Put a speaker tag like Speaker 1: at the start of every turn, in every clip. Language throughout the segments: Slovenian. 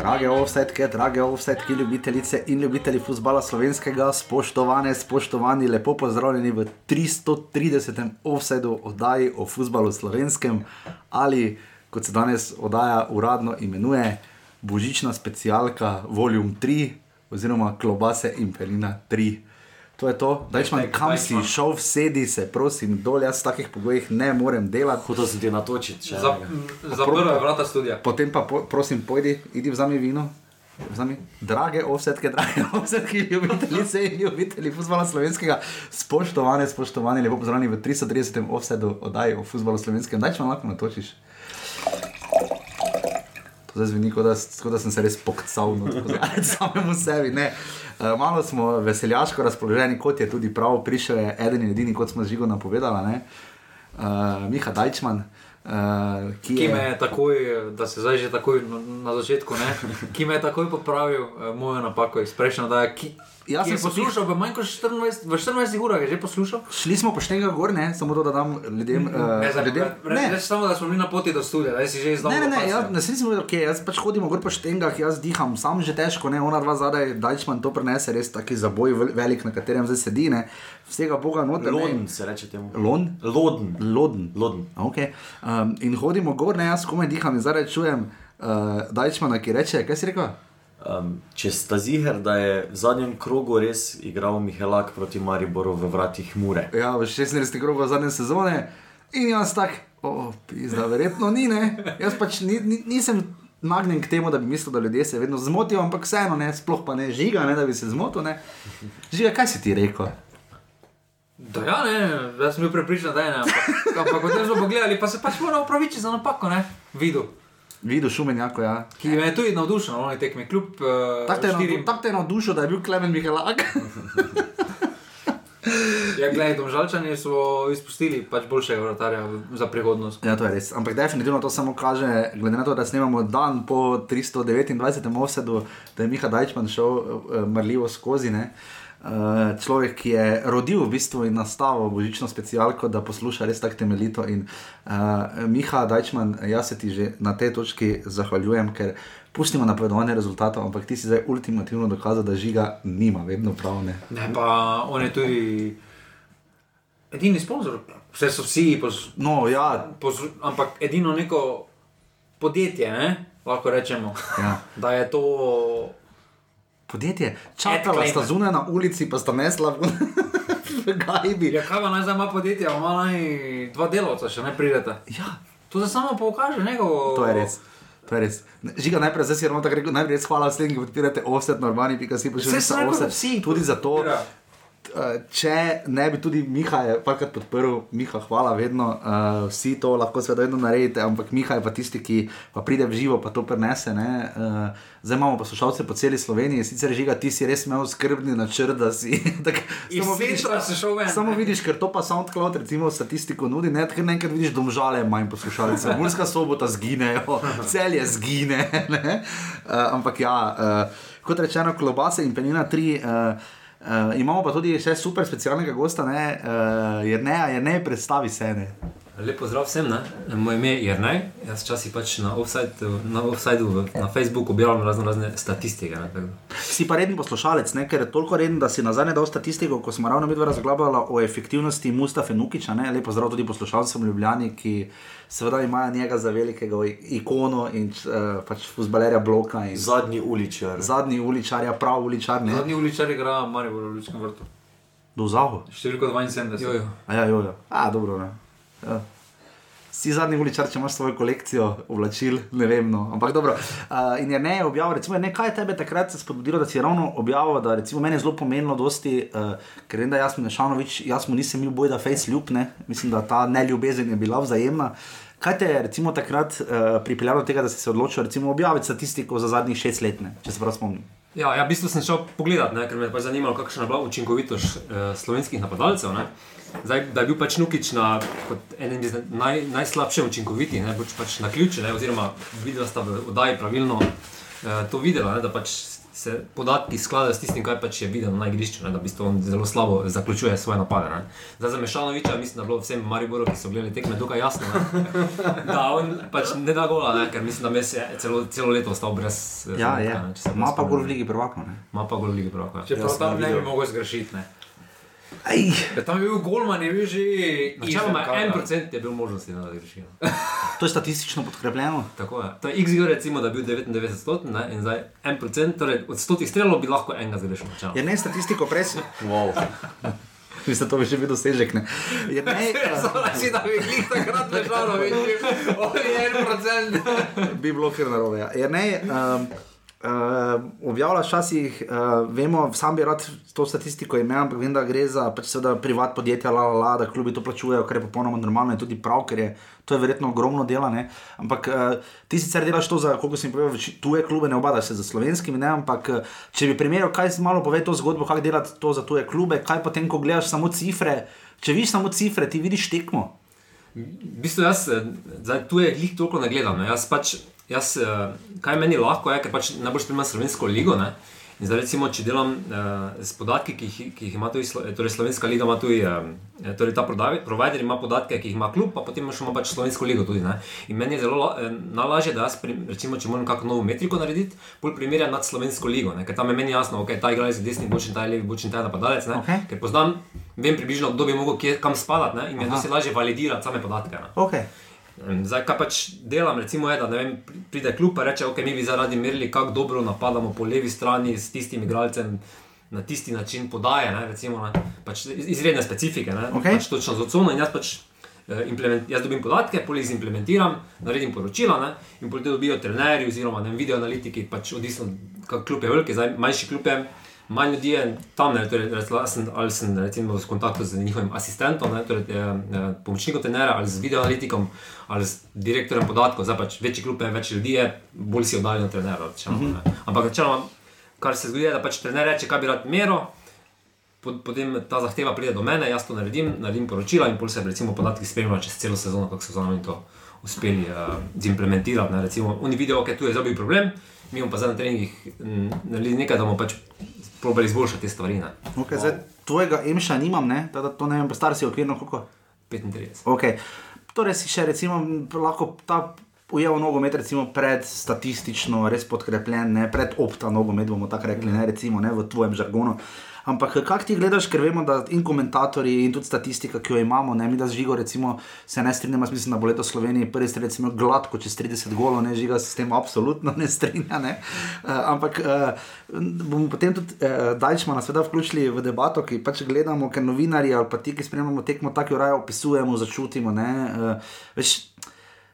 Speaker 1: Drage offsetke, drage offsetke, ljubitelice in ljubitelji futbola slovenskega, spoštovane, spoštovani, lepo pozdravljeni v 330. offsetu oddaji o futbalu slovenskem ali kot se danes oddaja uradno imenuje, Božična specialka Volume 3 oziroma Klobase Imperina 3. To je to, da šman, kam si šel, sedi se, prosim, dol, jaz v takih pogojih ne morem delati.
Speaker 2: Hotel sem ti natočiti, če
Speaker 3: Za, za prve vrata studia.
Speaker 1: Ja, Potem pa, po, prosim, pojdi, idi vzami vino. Vzami. Drage offsetke, drage offsetke, ljubitelice in ljubitelji futbola slovenskega, spoštovane, spoštovane, lepo pozdravljeni v 330. offsetu oddaji o futbolu slovenskem. Daj, če me lahko natočiš. To zdaj zveni, kot da, s- kot da sem se res pokcal no, tako za- samemu sebi. Ne. Eh, Malo smo veseljaško razpoloženi, kot je tudi prav, prišel je eden in edini, kot smo z Žigo napovedali, uh, Miha Dajčman, uh, ki,
Speaker 3: Ki
Speaker 1: je-
Speaker 3: me je takoj, da se zdaj že takoj na, na začetku, ne, ki me je takoj popravil eh, mojo napako iz prejšnjega dneva. ki-
Speaker 1: Jaz sem
Speaker 3: ki je
Speaker 1: se
Speaker 3: poslušal v manj kot 14, v 14 urah, je že poslušal.
Speaker 1: Šli smo pošteno gor, ne? samo to, da dam ljudem. Uh,
Speaker 3: Ne, zdaj,
Speaker 1: ljudem
Speaker 3: re, ne. Reč samo, da smo bili na poti do studia, da si že izdal.
Speaker 1: Ne, ne, ne, jaz, ne slišim, da okay, jaz pač hodim gor po štengah, jaz diham, sam že težko, ne, ona dva zadaj, Dajčman to prenese, res taki zaboj vel- velik, na katerem zdaj sedi, ne, vsega boga noter. ne.
Speaker 2: Loden se reče temu.
Speaker 1: Lon?
Speaker 2: Loden.
Speaker 1: Loden.
Speaker 2: Loden.
Speaker 1: Okay. Um, in hodimo gor, ne, jaz komaj diham in zdaj čujem uh, Dajčmana, ki reče, kaj si rekel?
Speaker 2: Um, če sta ziger, da je v zadnjem krogu res igral Mihelak proti Mariboru v vratih Mure.
Speaker 1: Ja, v 16. krogu zadnje sezone in jaz tak, oh, pizda, verjetno ni, ne. Jaz pač ni, ni, nisem nagnjen k temu, da bi mislil, da ljudje se vedno zmotijo, ampak vseeno ne, sploh pa ne žiga, ne, da bi se zmotil. Ne. Žiga, kaj si ti rekel?
Speaker 3: Da, ja, ne, jaz sem bil prepričan, da je ne. Ampak, ampak potem smo pogledali, pa se pač moramo opravičiti za napako, ne, videl.
Speaker 1: Videl šumenjako, ja.
Speaker 3: Ki me je tudi navdušen, na oni tekmi, kljub uh,
Speaker 1: Tako te, je navdu-
Speaker 3: štirim.
Speaker 1: tako te je navdušil, da je bil Klemen Mihelak.
Speaker 3: Ja, gledaj, domžalčani so izpustili pač boljšega vratarja v- za prihodnost.
Speaker 1: Ja, to je res. Ampak definitivno to samo kaže, glede na to, da snemamo dan po 329. offsetu, da je Miha Dajčman šel eh, mrljivo skozi. Ne? Eh, Človek, ki je rodil v bistvu in nastavil božično specialko, da posluša res tako temeljito. In uh, Miha Dajčman, jaz se ti že na tej točki zahvaljujem, ker pustimo napovedovanje rezultatov, ampak ti si zdaj ultimativno dokazal, da žiga nima, vedno pravne.
Speaker 3: Ne, pa on je tudi edini sponzor, vse so vsi, pos,
Speaker 1: No, ja,
Speaker 3: pos, ampak edino neko podjetje, ne, lahko rečemo,
Speaker 1: Ja.
Speaker 3: da je to.
Speaker 1: podjetje, čakala
Speaker 3: Klemen.
Speaker 1: sta zunaj na ulici, pa sta nesla v, v gajbi.
Speaker 3: Ja, kaj pa naj zdaj ima podjetje, a ima naj dva delavca, še ne pridete.
Speaker 1: Ja,
Speaker 3: To se samo pokaže, njegovo.
Speaker 1: to je res. To je res. Ne, Žiga, najprej zdaj si ravno tako rekel, najprej res hvala vsem, ki podpirate offset, normalni, pika si počutiš.
Speaker 3: Saj sem rekel, da vsi
Speaker 1: Tudi zato,
Speaker 3: podpirajo.
Speaker 1: t- eh, če ne bi tudi Miha je parkrat podprl, Miha, hvala vedno, eh, vsi to lahko seveda vedno naredite, ampak Miha je pa tisti, ki pa pride v živo, pa to prenese. ne. Eh, Zdaj imamo poslušalce po celi Sloveniji, sicer Žiga, ti si res imel skrbni načrt, da si tak,
Speaker 3: Iz centra si šel ven.
Speaker 1: Samo vidiš, ker to pa SoundCloud recimo statistiko nudi, ne, ker enkrat vidiš domžale, manj poslušalcev, Murska sobota zginejo, celje zgine. ne. Uh, ampak ja, uh, kot rečeno, klobase in penina tri. Uh, Uh, imamo pa tudi še super specialnega gosta, ne, uh, je ne, je ne, predstavi se ne.
Speaker 4: Lepo zdrav vsem, ne? moje ime je Jrnej, jaz včasih pač na offsajdu, na, offsajdu v- na Facebooku objavljam razno razne statistike. Ne? tako da.
Speaker 1: Si pa reden poslušalec, ne, ker je toliko reden, da si nazaj dal statistiko, ko smo ravno midva razglabljala o efektivnosti Mustafa Nukiča. Ne. Lepo zdrav tudi poslušalcem Ljubljani, ki seveda imajo njega za velikega i- ikono in uh, pač fuzbalerja bloka. In...
Speaker 2: Zadnji uličar.
Speaker 1: zadnji uličarja, prav uličar, ne
Speaker 3: Zadnji uličar igra Maribor v Ljudskem vrtu.
Speaker 1: do zaho.
Speaker 3: Številko 72.
Speaker 4: Jo, jo.
Speaker 1: A ja, jo, jo. A, dobro, ne. Ja. Si zadnji uličar, če imaš svojo kolekcijo oblačil, ne vem. No. Ampak dobro. Uh, in je ne objavil, recimo, ne, kaj je tebe takrat spodbudilo, da si ravno objavil, da recimo meni je zelo pomembno, dosti, uh, ker vem, da jaz sem Šanovič, jaz mu nisem bil boj, da face ljub, ne. mislim, da ta neljubezen je bila vzajemna. Kaj te je recimo takrat uh, pripeljalo do tega, da si se odločil recimo, objaviti statistiko za zadnjih šest let, ne, če se prav spomnim?
Speaker 4: Ja, ja, v bistvu sem šel pogledat, ne, ker me je pač zanimalo, kakšna je bila učinkovitost eh, slovenskih napadalcev. Ne. Zdaj, da je bil pač Nukič na, kot eden izmed naj, najslabše učinkovitih, ne boč pač na ključe, ne, oziroma videla sta v oddaji pravilno eh, to videla, ne, da pač se podatki skladajo s tistim, kaj pač je videl na igrišču, ne, da v bistvu on zelo slabo zaključuje svoje napade. Ne. Zdaj za Mešanoviča mislim, da je bilo vsem v Mariboru, ki so gledali tekme, dokaj jasno, ne, da on pač ne da gola, ne, ker mislim, da mes je celo, celo leto ostal brez. eh,
Speaker 1: Ja,
Speaker 4: zadetka,
Speaker 1: je.
Speaker 4: ne, če se
Speaker 1: Ima pa
Speaker 4: spomnim.
Speaker 1: gol v Ligi prvakov. ne.
Speaker 4: Ima pa gol lige prav. Ja.
Speaker 3: Čeprav
Speaker 2: Jaz
Speaker 3: tam
Speaker 2: sem
Speaker 3: ne bi
Speaker 2: videl.
Speaker 3: mogel zgrešiti. ne.
Speaker 1: Ej,
Speaker 3: Ker tam je bil golman, je bil že.
Speaker 4: Načeloma
Speaker 3: izven kadra.
Speaker 4: je 1% je bil možnosti, da rešijo.
Speaker 1: to je statistično podkrepljeno.
Speaker 4: Tako je. To je XG, recimo, da je bil 99 odstoten ne, in zdaj 1%, torej od 100 strelov bi lahko enega zgrešil. Čau.
Speaker 1: Je ne statistiko pres.
Speaker 2: Wow.
Speaker 1: Mislim, to bi že bil dosežek. ne. Je ne, eh,
Speaker 3: Zala si, da bi jih takrat ležalo, veš, on je 1%.
Speaker 1: bi bilo kar narobe. Ja. Jer Ne, um, Uh, objavlja včasih, uh, vemo, sam bi rad to statistiko imel, ampak vem, da gre za pač seveda privat podjetja, la, la, la, da klubi to plačujejo, kar je popolnoma normalno in tudi prav, ker je to je verjetno ogromno dela. Ne? Ampak uh, ti sicer delaš to za, koliko sem povedal, več- tuje klube, ne obadaš se za slovenskimi, ne? ampak eh, če bi primerjal, kaj si malo pove to zgodbo, kako delati to za tuje klube, kaj potem, ko gledaš samo cifre, če vidiš samo cifre, ti vidiš tekmo.
Speaker 4: V bistvu jaz eh, zdaj, tu je glih toliko ne gledam. Ne. Jaz pač, jaz, eh, kaj meni lahko je, ker pač najbolj spremljam slovensko ligo. Ne. In zdaj, recimo, če delam eh, s podatki, ki jih, ki jih ima tudi, Slo- eh, torej slovenska liga, ima tudi, eh, torej ta prodavi- provider ima podatke, ki jih ima klub, pa potem imaš ima pač slovensko ligo tudi. Ne. In meni je zelo la, eh, najlažje, da jaz, prim, recimo, če moram kakšno novo metriko narediti, bolj primerjam nad slovensko ligo, ne. ker tam je meni jasno, ok, ta igralec je desni, bočen, ta je levi, bočen, ta je napadalec. ne.
Speaker 1: Okej.
Speaker 4: Ker poznam, vem približno, kdo bi mogel kje, kam spadati ne, in mi je
Speaker 1: Aha.
Speaker 4: dosti lažje validirati same podatke. Ne.
Speaker 1: Okay.
Speaker 4: Em, Zdaj, kaj pač delam, recimo, je, da ne vem, pri- pride kljub in reče, ok, mi bi zdaj radi merili, kako dobro napadamo po levi strani s tistim igralcem. Na tisti način podaje, ne, recimo, ne, pač iz- izredne specifike, ne,
Speaker 1: Okej.
Speaker 4: pač točno za cono. In jaz pač eh, implement- jaz dobim podatke, pol jih implementiram, naredim poročila ne, in pol te dobijo trenerji oziroma ne vem, video analitiki, pač odvisno, kako kljub je veliki, zdaj manjši kljub je. Manj ljudi je tam, ne, torej, recimo, jaz sem, ali sem recimo, v kontaktu z njihovim asistentom, ne, torej, eh, eh, pomočnikom trenera, ali z videoanalitikom, ali z direktorjem podatkov. Zdaj pač večji klub je, več ljudi je, bolj si oddaljen od trenera. Rečeno, mm -hmm. Ampak načeloma, kar se zgodi, je, da pač trener reče, kaj bi rad mero, pot- potem ta zahteva pride do mene, jaz to naredim, naredim poročila in pol se recimo podatki spremljajo čez celo sezono, kako so za nami to uspeli uh, implementirati. Ne, recimo, oni vidijo, ok, tu je zdaj bil problem, mi bomo pa zdaj na treningih m, naredili nekaj, da bomo pač probali izboljšati te stvari. Ne.
Speaker 1: Okay, zdaj, tvojega emša nimam, ne? Tako da to ne vem, pa star si okvirno koliko.
Speaker 4: 35.
Speaker 1: Okay. Torej si še recimo, m, lahko ta ujel nogomet recimo, pred statistično, res podkrepljen, ne? pred opta nogomet, bomo tako rekli, ne? recimo ne? v tvojem žargonu. Ampak eh, kako ti gledaš, ker vemo, da in komentatorji, in tudi statistika, ki jo imamo, ne, mi da z žigo, recimo, se ne strinjamo, jaz mislim, da bo leto Slovenije prvi strelec imel gladko čez 30 golov, ne žiga se s tem absolutno ne strinja. Ne. Uh, ampak uh, bomo potem tudi uh, Dajčmana seveda vključili v debato, ki pač gledamo, ker novinarji ali pa ti, ki spremljamo tekmo, tako jo raje opisujemo, začutimo. ne. Uh, veš,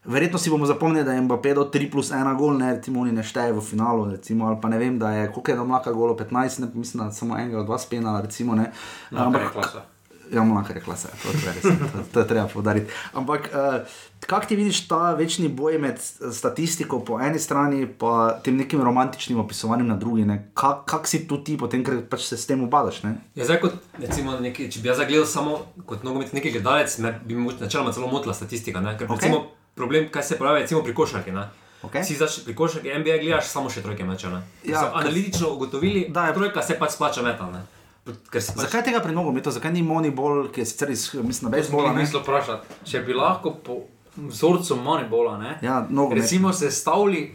Speaker 1: Verjetno si bomo zapomnili, da je Mbappé do 3 plus 1 gol, ne, recimo, oni ne šteje v finalu, recimo, ali pa ne vem, da je koliko je tam lahko golo, 15, ne, mislim, da samo enega od vas penala, recimo, ne.
Speaker 3: je klasa.
Speaker 1: Ja, mlaka rekla se, to je treba res, to, to je treba poudariti. Ampak uh, kako ti vidiš ta večni boj med eh, statistiko po eni strani in tem nekim romantičnim opisovanjem na drugi? Ne? Kako kak si tu ti, potem, ker pač se s tem ubadaš? Ne?
Speaker 4: Ja, zdaj, kot, recimo, neki, če bi jaz zagledal samo kot nogometni neki gledalec, me bi me načeloma celo motila statistika. Ne? Ker
Speaker 1: Okej.
Speaker 4: recimo, problem, kaj se pravi, recimo pri košarki. Ne?
Speaker 1: Okej.
Speaker 4: Si znaš pri košarki NBA gledaš samo še trojke meče. ne. Ker
Speaker 1: Ja,
Speaker 4: so
Speaker 1: ker-
Speaker 4: analitično ugotovili,
Speaker 1: Da ja.
Speaker 4: da
Speaker 1: je-
Speaker 4: je trojka se pač splača metal. Ne? Ker se pač
Speaker 1: Zakaj tega pri nogometu, zakaj ni Moneyball, ki je sicer iz, mislim, da je
Speaker 3: Moram
Speaker 1: zbolel?
Speaker 3: misli vprašati, če bi lahko po vzorcu Moneybola, ne,
Speaker 1: Ja, nogomet.
Speaker 3: recimo sestavili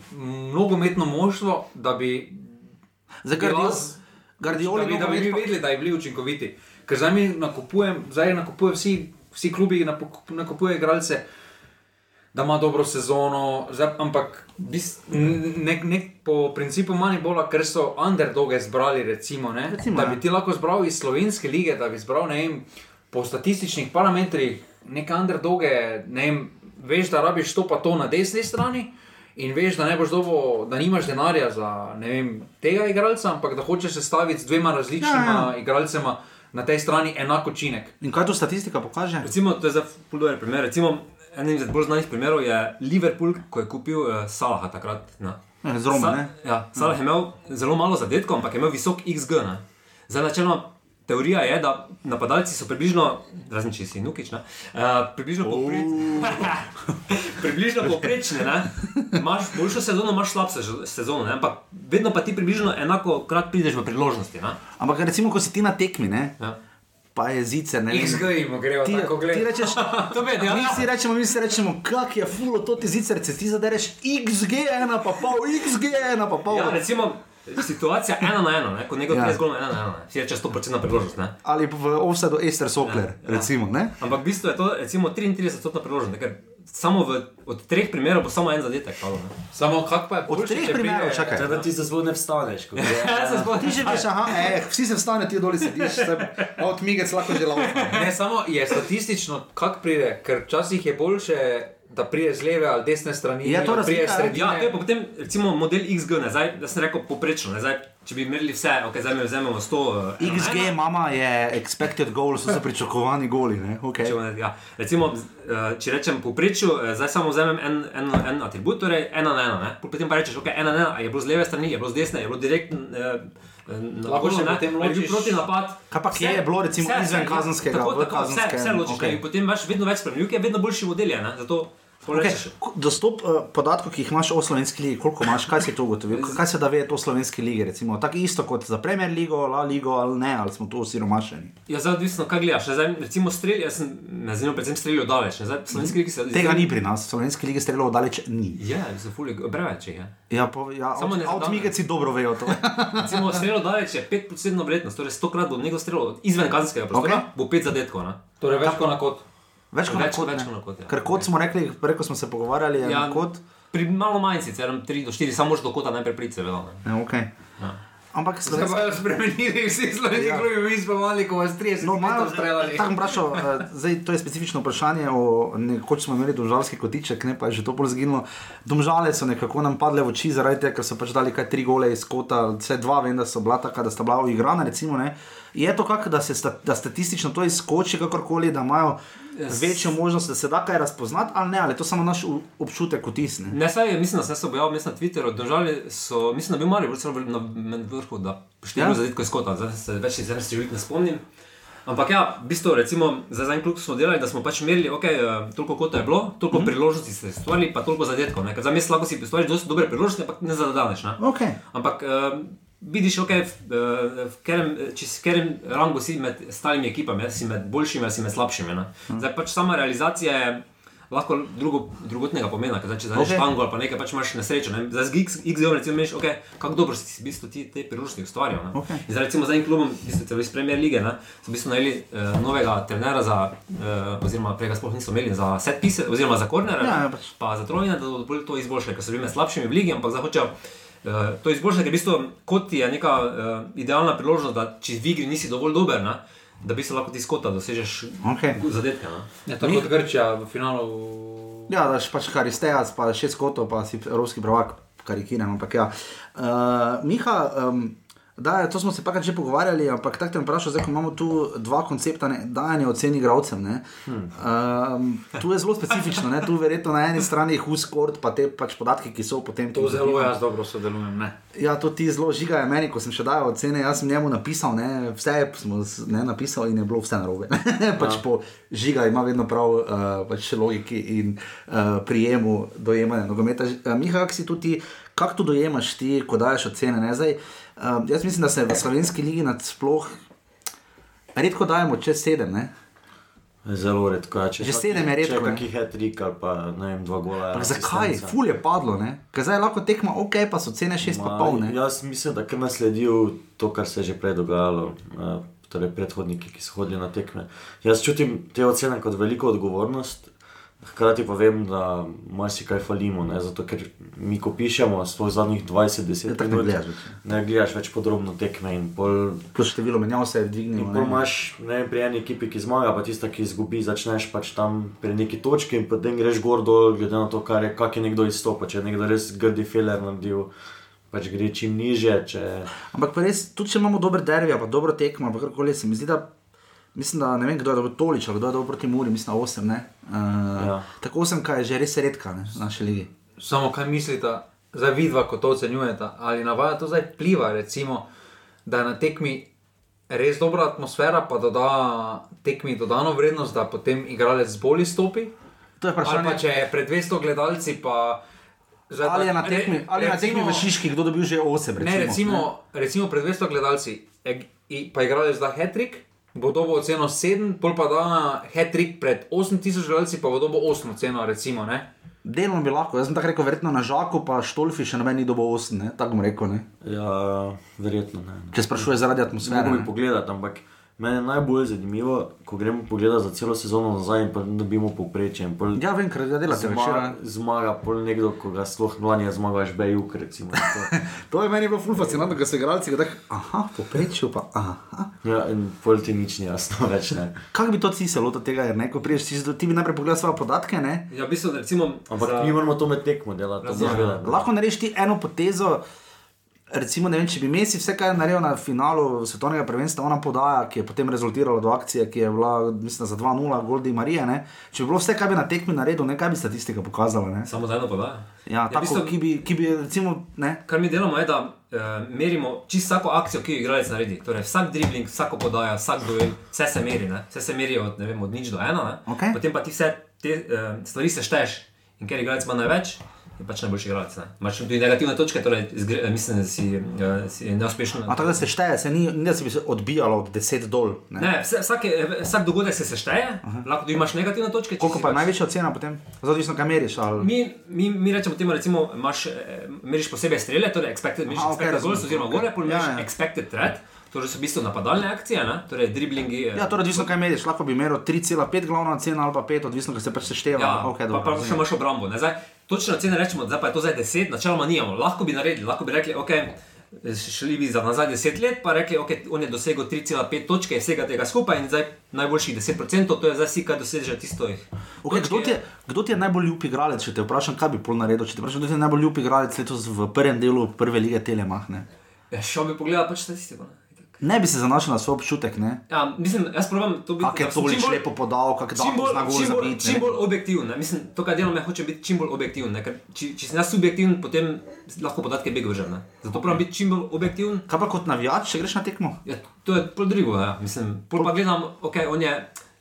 Speaker 3: nogometno moštvo, da bi
Speaker 1: Za
Speaker 3: Glas-
Speaker 1: Gardioli,
Speaker 3: da bi, da bi mi
Speaker 1: nogomet pa-
Speaker 3: vedeli, da je bili učinkoviti. Ker zdaj mi nakupujem, zdaj nakupujem vsi, vsi klubi napu- nakupujejo igralce, da ima dobro sezono, zdaj, ampak bis, nek, nek po principu Manibola, ker so underdoge zbrali, recimo, ne,
Speaker 1: Recimo,
Speaker 3: da
Speaker 1: ja.
Speaker 3: bi ti lahko zbral iz slovenske lige, da bi zbral ne vem, po statističnih parametrih neke underdoge, ne vem, veš, da rabiš to pa to na desni strani. In veš, da ne boš dobo, da nimaš denarja za ne vem, tega igralca, ampak da hočeš sestaviti z dvema različnima
Speaker 1: Ja,
Speaker 3: ja. igralcema na tej strani enako učinek.
Speaker 1: In kaj tu statistika pokaže?
Speaker 4: Recimo, to je zdaj ful dober primer. Recimo, en izmed bolj znanih primerov je Liverpool, ko je kupil uh, Salaha takrat. Ne.
Speaker 1: Ja, z Roma, ne?
Speaker 4: ja, Salah je imel zelo malo zadetkov, ampak je imel visok XG. Ne. Zdaj, načeloma, teorija je, da napadalci so približno, razen če si nukič, ne, uh, približno
Speaker 1: Oh.
Speaker 4: povprečni. približno povprečni, ne. Imaš boljšo sezono, imaš slabšo sezo- sezono, ne, ampak vedno pa ti približno enako krat prideš v priložnosti, ne.
Speaker 1: Ampak recimo, ko si ti na tekmi, ne,
Speaker 4: Ja.
Speaker 1: pa je zicer, ne vem.
Speaker 3: Izgledimo, gremo
Speaker 1: Ti,
Speaker 3: tako
Speaker 1: ti
Speaker 3: gledati.
Speaker 1: rečeš,
Speaker 4: To bi
Speaker 1: mi
Speaker 4: dejansko.
Speaker 1: si rečemo, mi si rečemo, kak je fulo to ti zicer, se ti zadereš XG1 pa pol, XG1 pa pol.
Speaker 4: Ja, recimo, situacija ena na eno, ne, ko nekdo
Speaker 1: Ja.
Speaker 4: ja. zgolj ena na eno, ne. si reče 100% priložnost, ne.
Speaker 1: Ali v offsetu Ester Sokler,
Speaker 4: Ja, ja.
Speaker 1: recimo, ne.
Speaker 4: Ampak v bistvu je to recimo 33% priložnost, ker samo v, od treh primerov bo samo en zadetek. Palo, ne.
Speaker 3: Samo kak pa je
Speaker 1: Od
Speaker 3: boljše,
Speaker 1: treh
Speaker 3: če
Speaker 1: primerov,
Speaker 3: pride-
Speaker 1: čakaj.
Speaker 2: Teda ti se zelo ne vstaneš. ko gre.
Speaker 4: Ja, se spomnim.
Speaker 1: Ti že veš, aha, eh, vsi se vstane, ti dol sediš, se, od migec lahko že lava.
Speaker 3: Ne, samo je statistično, kak pride, ker včasih je boljše, da pride z leve ali desne strani,
Speaker 1: Ja, to
Speaker 3: da pride
Speaker 1: razlika,
Speaker 3: s
Speaker 1: ja.
Speaker 3: sredine.
Speaker 4: Ja, to je pa potem recimo model XG, ne, zdaj, da sem rekel poprečno. Ne, zdaj, če bi merili vse, okay, zdaj mi vzamemo 100. eh,
Speaker 1: XG, mama je expected goal, so se pričakovani goli, ne.
Speaker 4: Če,
Speaker 1: Okay.
Speaker 4: bom- ja. Recimo, z- eh, če rečem poprečju, eh, zdaj samo vzamem en, en, en atribut, torej ena na eno. ne. Pol Potem pa rečeš, ok, ena na ena, a je bilo z leve strani, je bilo z desne, je bilo eh, direktno.
Speaker 3: Lahko
Speaker 4: še
Speaker 3: se potem
Speaker 4: bil
Speaker 3: ločiš-
Speaker 4: proti napad.
Speaker 1: Kaj pa kje je bilo, recimo, izven kazenskega,
Speaker 4: Tako,
Speaker 1: v
Speaker 4: tako, vse,
Speaker 1: kazenskem,
Speaker 4: vse ločiš.
Speaker 1: okej.
Speaker 4: Okay. Potem imaš vedno več spremljivk, je vedno boljši model. je, ne. Zato pol rečeš,
Speaker 1: Okay. Dostop uh, podatkov, ki jih imaš o slovenski ligi, koliko imaš, kaj si to ugotovil, kaj se da ve to o slovenski ligi, recimo, tako isto kot za Premier Ligo, La Ligo ali ne, ali smo tu osiromašeni.
Speaker 4: Ja, zdaj odvisno, kaj gledaš. ne. Zdaj, recimo, strelj, jaz sem, me zanima predvsem streljal daleč. ne. Zdaj, slovenski ligi se
Speaker 1: Mhm. Tega ni pri nas, v slovenski ligi strelov daleč ni.
Speaker 4: Ja, so fulje, preveč jih je.
Speaker 1: Ja, pa, ja,
Speaker 4: Samo ne zadane.
Speaker 1: Avtomigeci dobro vejo to.
Speaker 4: Recimo, strelo daleč je 5% vrednost, torej 100 krat bo nekdo strelo izven kazenskega prostora,
Speaker 1: Ok.
Speaker 4: okay. bo 5 zadetkov. Ne?
Speaker 3: Torej, več kot na kot.
Speaker 1: Več kot
Speaker 4: Več-
Speaker 1: kot,
Speaker 4: več
Speaker 1: ne.
Speaker 4: kot na kot, ja.
Speaker 1: Ker kot smo rekli, preko smo se pogovarjali, je ja. kot.
Speaker 4: Pri malo manj sicer, 3 do 4, samo še do kota najprej pride, seveda. ne.
Speaker 1: Ne, okay. ja. Ampak
Speaker 3: Zdaj
Speaker 1: slovenski.
Speaker 3: pa jo spremenili vsi slovenski
Speaker 1: Ja.
Speaker 3: klubi, mi smo mali, ko vas 30
Speaker 1: No, malo
Speaker 3: metrov streljali.
Speaker 1: Tako bom vprašal, eh, zdaj to je specifično vprašanje. o- Nekoč smo imeli domžalski kotiček, ne pa je že to bolj zginilo. Domžale so nekako nam padle v oči zaradi tega, ker so pač dali kaj tri gole iz kota, vse dva, vem, da so bila taka, da sta bila uigrana. Recimo, ne. je to kako, da se sta, da statistično to izkoči, kakorkoli, da imajo yes. večjo možnost, da se da kaj razpoznati, ali ne, ali je to samo naš u- občutek, vtis. Ne?
Speaker 4: Ne, saj, je, mislim, da sem se objavil mislim, na Twitterju, držali so, mislim, da bi morali biti celo na na vrhu, da število
Speaker 1: Ja.
Speaker 4: ja. zadetkov je skota, zdaj se več iz enega številka ne spomnim. Ampak ja, v bistvu, recimo, za en klub smo delali, da smo pač merili, ok, eh, toliko kot je bilo, toliko mm -hmm. priložnosti ste ustvarili, pa toliko zadetkov. ne. Ker Za mes lahko si ustvariš dosti dobre priložnosti, ampak ne zadaneš. Ne?
Speaker 1: Okay.
Speaker 4: Ampak uh, vidiš, okay, v, uh, v katerem, eh, če si v katerem rangu si med stalnimi ekipami, eh, si med boljšimi, ali si med slabšimi. ne.
Speaker 1: Mhm.
Speaker 4: Zdaj pač sama realizacija je. Lahko drugo, drugotnega pomena, ker zdaj, če znaš
Speaker 1: Ok.
Speaker 4: okay. tango ali pa nekaj, pač imaš nesrečo. Ne? Zdaj z XDO recimo meniš, okay, kako dobro si si v bistvu ti te priložnosti ustvarjal. ne.
Speaker 1: Ok.
Speaker 4: In Zdaj recimo z enim klubom, v bistvu celo iz Premier lige, ne, so v bistvu najeli uh, novega trenera za, uh, oziroma prej ga sploh niso imeli, za set pise, oziroma za kornere
Speaker 1: Ja, ja, pač.
Speaker 4: pa za trojne, da bodo bolj to izboljšali, ker so bili med slabšimi v ligi, ampak zdaj hočejo eh, to izboljšati, ker v bistvu kot je neka eh, idealna priložnost, da če v igri nisi dovolj dober, ne, da bi se lahko ti skota dosežeš
Speaker 1: Okay.
Speaker 4: zadetke. Ne.
Speaker 3: Ja, tako kot Grčija v finalu.
Speaker 1: Ja, daš pač Haristejas, pa šest kotov, pa si evropski prvak, karikiram. Ampak ja. Uh, Miha, um, da, to smo se pa že pogovarjali, ampak tako te bom vprašal, zdaj ko imamo tu dva koncepta ne, dajanja ocen igravcem. ne. Um, tu je zelo specifično, ne? tu verjetno na eni strani je huskord, pa te pač podatki, ki so potem
Speaker 3: To zelo jaz dobro sodelujem. Ne?
Speaker 1: Ja, to ti zelo žiga je meni, ko sem še dajal ocene, jaz sem njemu napisal, ne, vse je smo z- ne, napisal in je bilo vse narobe. pač
Speaker 2: Ja.
Speaker 1: po žiga ima vedno prav, uh, pač logiki in uh, prijemu dojemanja nogometa. Ž- eh, Miha, kako si tu ti, kako to dojemaš ti, ko daješ ocene? Ne? Zdaj, uh, jaz mislim, da se v slovenski ligi nasploh redko dajemo čez sedem. Ne?
Speaker 2: Zelo redko. ja, Če
Speaker 1: Že
Speaker 2: kak-
Speaker 1: sedem je redko,
Speaker 2: Če
Speaker 1: ne.
Speaker 2: kakih je trik ali pa ne vem, dva gola.
Speaker 1: Ampak
Speaker 2: ena
Speaker 1: zakaj?
Speaker 2: asistenca.
Speaker 1: Ful je padlo, ne? Ker zdaj lahko tekma, ok, pa so cene šest pa
Speaker 2: Ma,
Speaker 1: pol, ne?
Speaker 2: Jaz mislim, da kar nasledil to, kar se je že prej dogajalo. eh, Torej, predhodniki, ki so hodili na tekme. Jaz čutim te ocene kot veliko odgovornost, hkrati pa vem, da marsikaj falimo. Ne? Zato, ker mi, ko pišemo, sploh zadnjih 20-10
Speaker 1: Ja,
Speaker 2: let,
Speaker 1: tako ne gledaš več.
Speaker 2: ne gledaš več podrobno tekme in pol
Speaker 1: Plus število menjav se je
Speaker 2: In
Speaker 1: dvignilo.
Speaker 2: pol
Speaker 1: No, ne.
Speaker 2: imaš ne vem, pri eni ekipi, ki zmaga, pa tista, ki izgubi, začneš pač tam pri neki točki in potem greš gor dol, glede na to, kar je, kak je nekdo izstopil. Če je nekdo res grdi filer naredil, pač gre čim niže. Če...
Speaker 1: Ampak pa res, tudi če imamo dober derbi, pa dobro tekmo, pa karkoli, se mi zdi, da, mislim, da ne vem, kdo je dobro tolič, ali kdo je dobro proti Muri, mislim, da 8. Ne? Uh, ja.
Speaker 2: Ja.
Speaker 1: Tako 8, kaj je že res redka ne, v naši ligi.
Speaker 3: Samo kaj mislite, zdaj vidva, ko to ocenjujete, ali na vas to zdaj pliva, recimo, da na tekmi res dobra atmosfera, pa da da tekmi dodano vrednost, da potem igralec bolj izstopi.
Speaker 1: To je
Speaker 3: Ali
Speaker 1: vprašanje.
Speaker 3: pa če je pred 200 gledalci, pa zdaj
Speaker 1: Ali je
Speaker 3: pa-
Speaker 1: na tekmi,
Speaker 3: re-
Speaker 1: ali je na tekmi v Šiški kdo dobil že 8?
Speaker 3: Ne, recimo, recimo pred 200 gledalci, e, i- pa igralec da hetrik, bo dobil oceno 7, pol pa da hetrik pred 8000 gledalci, pa bo dobil 8 oceno, recimo. Ne?
Speaker 1: Delno bi lahko, jaz sem tako rekel, verjetno na Žaku, pa Štolfi še noben ni dobil 8, ne? tako bom rekel. Ne?
Speaker 2: Ja, verjetno ne. ne.
Speaker 1: Če sprašuje zaradi
Speaker 2: Ne
Speaker 1: atmosfere.
Speaker 2: mogu mi
Speaker 1: Ne?
Speaker 2: pogledati, ampak meni je najbolj zanimivo, ko gremo pogledati za celo sezono nazaj in pa dobimo povprečje. in pol
Speaker 1: Ja, vem, ker ga delate
Speaker 2: zma-
Speaker 1: večer.
Speaker 2: Zmaga, pol nekdo, ko ga sploh mlanje zmaga, až bejuk, recimo. To-
Speaker 1: To je meni bilo ful fascinantno, ker se igralci ga tako, aha, poprečju pa, aha.
Speaker 2: Ja, in pol ti nič ni jasno več. Ne.
Speaker 1: Kako bi to ti se lotil tega, jer ne, ko priješ, ti, ti bi najprej pogledal svoje podatke, ne?
Speaker 4: Ja, v bistvu, recimo,
Speaker 2: Ampak
Speaker 4: za-
Speaker 2: mi moramo to med tekmo delati, to
Speaker 4: Razumem.
Speaker 2: moramo no. delati.
Speaker 1: Lahko narediš ti eno potezo. Recimo, ne vem, če bi Messi vse, kar je naredil na finalu svetovnega prvenstva, ona podaja, ki je potem rezultirala do akcije, ki je bila, mislim, za 2-0, Goldi Marije. Ne? Če bi bilo vse, kar bi na tekmi naredil, ne kaj bi statistika pokazala. Ne?
Speaker 4: Samo za eno podajo.
Speaker 1: Ja, tako,
Speaker 4: bistvu-
Speaker 1: ki, bi, ki bi, recimo, ne.
Speaker 4: Kar mi delamo je, da uh, merimo čisto vsako akcijo, ki jo igralec naredi. Torej, vsak dribling, vsako podaja, vsak duel, vse se meri, ne? vse se meri od, ne vem, od nič do ena. ne.
Speaker 1: Okej.
Speaker 4: Potem pa ti vse te uh, stvari sešteješ in ker igralec ima največ, je pač najboljši igralec. ne. Imaš tudi negativne točke, torej zgre, eh, mislim, da si, uh, si neuspešen.
Speaker 1: A tako da se šteje, se ni, ni da se bi se odbijalo od 10 dol. Ne? Ne.
Speaker 4: Ne, vse, vsake, eh, vsak dogodek se sešteje, Aha. lahko tudi imaš negativne točke. če
Speaker 1: Koliko
Speaker 4: si
Speaker 1: pa
Speaker 4: pač
Speaker 1: je največja ocena potem? Zdaj, odvisno, kaj meriš. Ali...
Speaker 4: Mi, mi, mi rečemo temu, recimo, imaš, eh, meriš posebej strele, torej expected, meriš
Speaker 1: Aha,
Speaker 4: Aha,
Speaker 1: ok,
Speaker 4: expected okay,
Speaker 1: razumem.
Speaker 4: goals oziroma gore, pol
Speaker 1: Ja,
Speaker 4: meriš
Speaker 1: ja.
Speaker 4: ja, expected threat, torej so v bistvu napadalne akcije, ne? torej driblingi. eh,
Speaker 1: Ja, torej, odvisno, kaj meriš. Lahko bi meril 3,5 glavna ocena ali pa 5, odvisno, kaj se pač sešteva.
Speaker 4: Ja,
Speaker 1: okay,
Speaker 4: okay, pa, pa še imaš obrambo. Ne? Zdaj, točno ocene rečemo, da je to zdaj 10, načeloma nijamo. Lahko bi naredili, lahko bi rekli, ok, šli bi za nazaj 10 let, pa rekli, ok, on je dosegel 3,5 točke iz vsega tega skupaj in zdaj najboljših 10%, to je zdaj si, kaj doseže tisto jih.
Speaker 1: Okay, kdo, ti je, kdo ti je najbolj ljub igralec, če te vprašam, kaj bi pol naredil? Če te vprašam, kdo ti je najbolj ljub igralec letos v prvem delu prve lige Telemahne?
Speaker 4: Ja, šel bi pogledal pač statistiko. Ne?
Speaker 1: Ne bi se zanašal na svoj občutek, ne?
Speaker 4: Ja, mislim, jaz pravim, to bi
Speaker 1: Kak je
Speaker 4: da sem čim
Speaker 1: Tolič
Speaker 4: bolj-
Speaker 1: lepo podal, kak je
Speaker 4: čim bolj,
Speaker 1: Davo znal
Speaker 4: čim bolj,
Speaker 1: zabiti.
Speaker 4: čim bolj objektiven. ne. Mislim, to, kar delam, je hoče biti čim bolj objektiven. ne, Ker če, če sem jaz subjektiven, potem lahko podatke bega vržem. ne. Zato pravim biti čim bolj objektiven.
Speaker 1: Kaj pa kot navijač, če greš na tekmo?
Speaker 4: Ja, to je pol drugo. Ja. Mislim, pol pa gledam, ok, on je.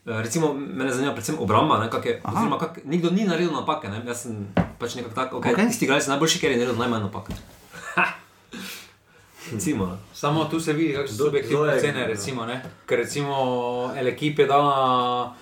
Speaker 4: eh, Recimo, mene zanima predvsem obramba, ne, kak je, oziroma kak, nikdo ni naredil napake. Ne. Jaz sem pač nekako tak,
Speaker 1: Okej.
Speaker 4: okay, okay. tisti igralec je najboljši, ker je naredil najmanj napak. Recimo. ne.
Speaker 3: Samo tu se vidi, kakšne so
Speaker 2: kdo
Speaker 3: subjektivne
Speaker 2: je-
Speaker 3: cene, recimo, ne? ker recimo Elekip je dala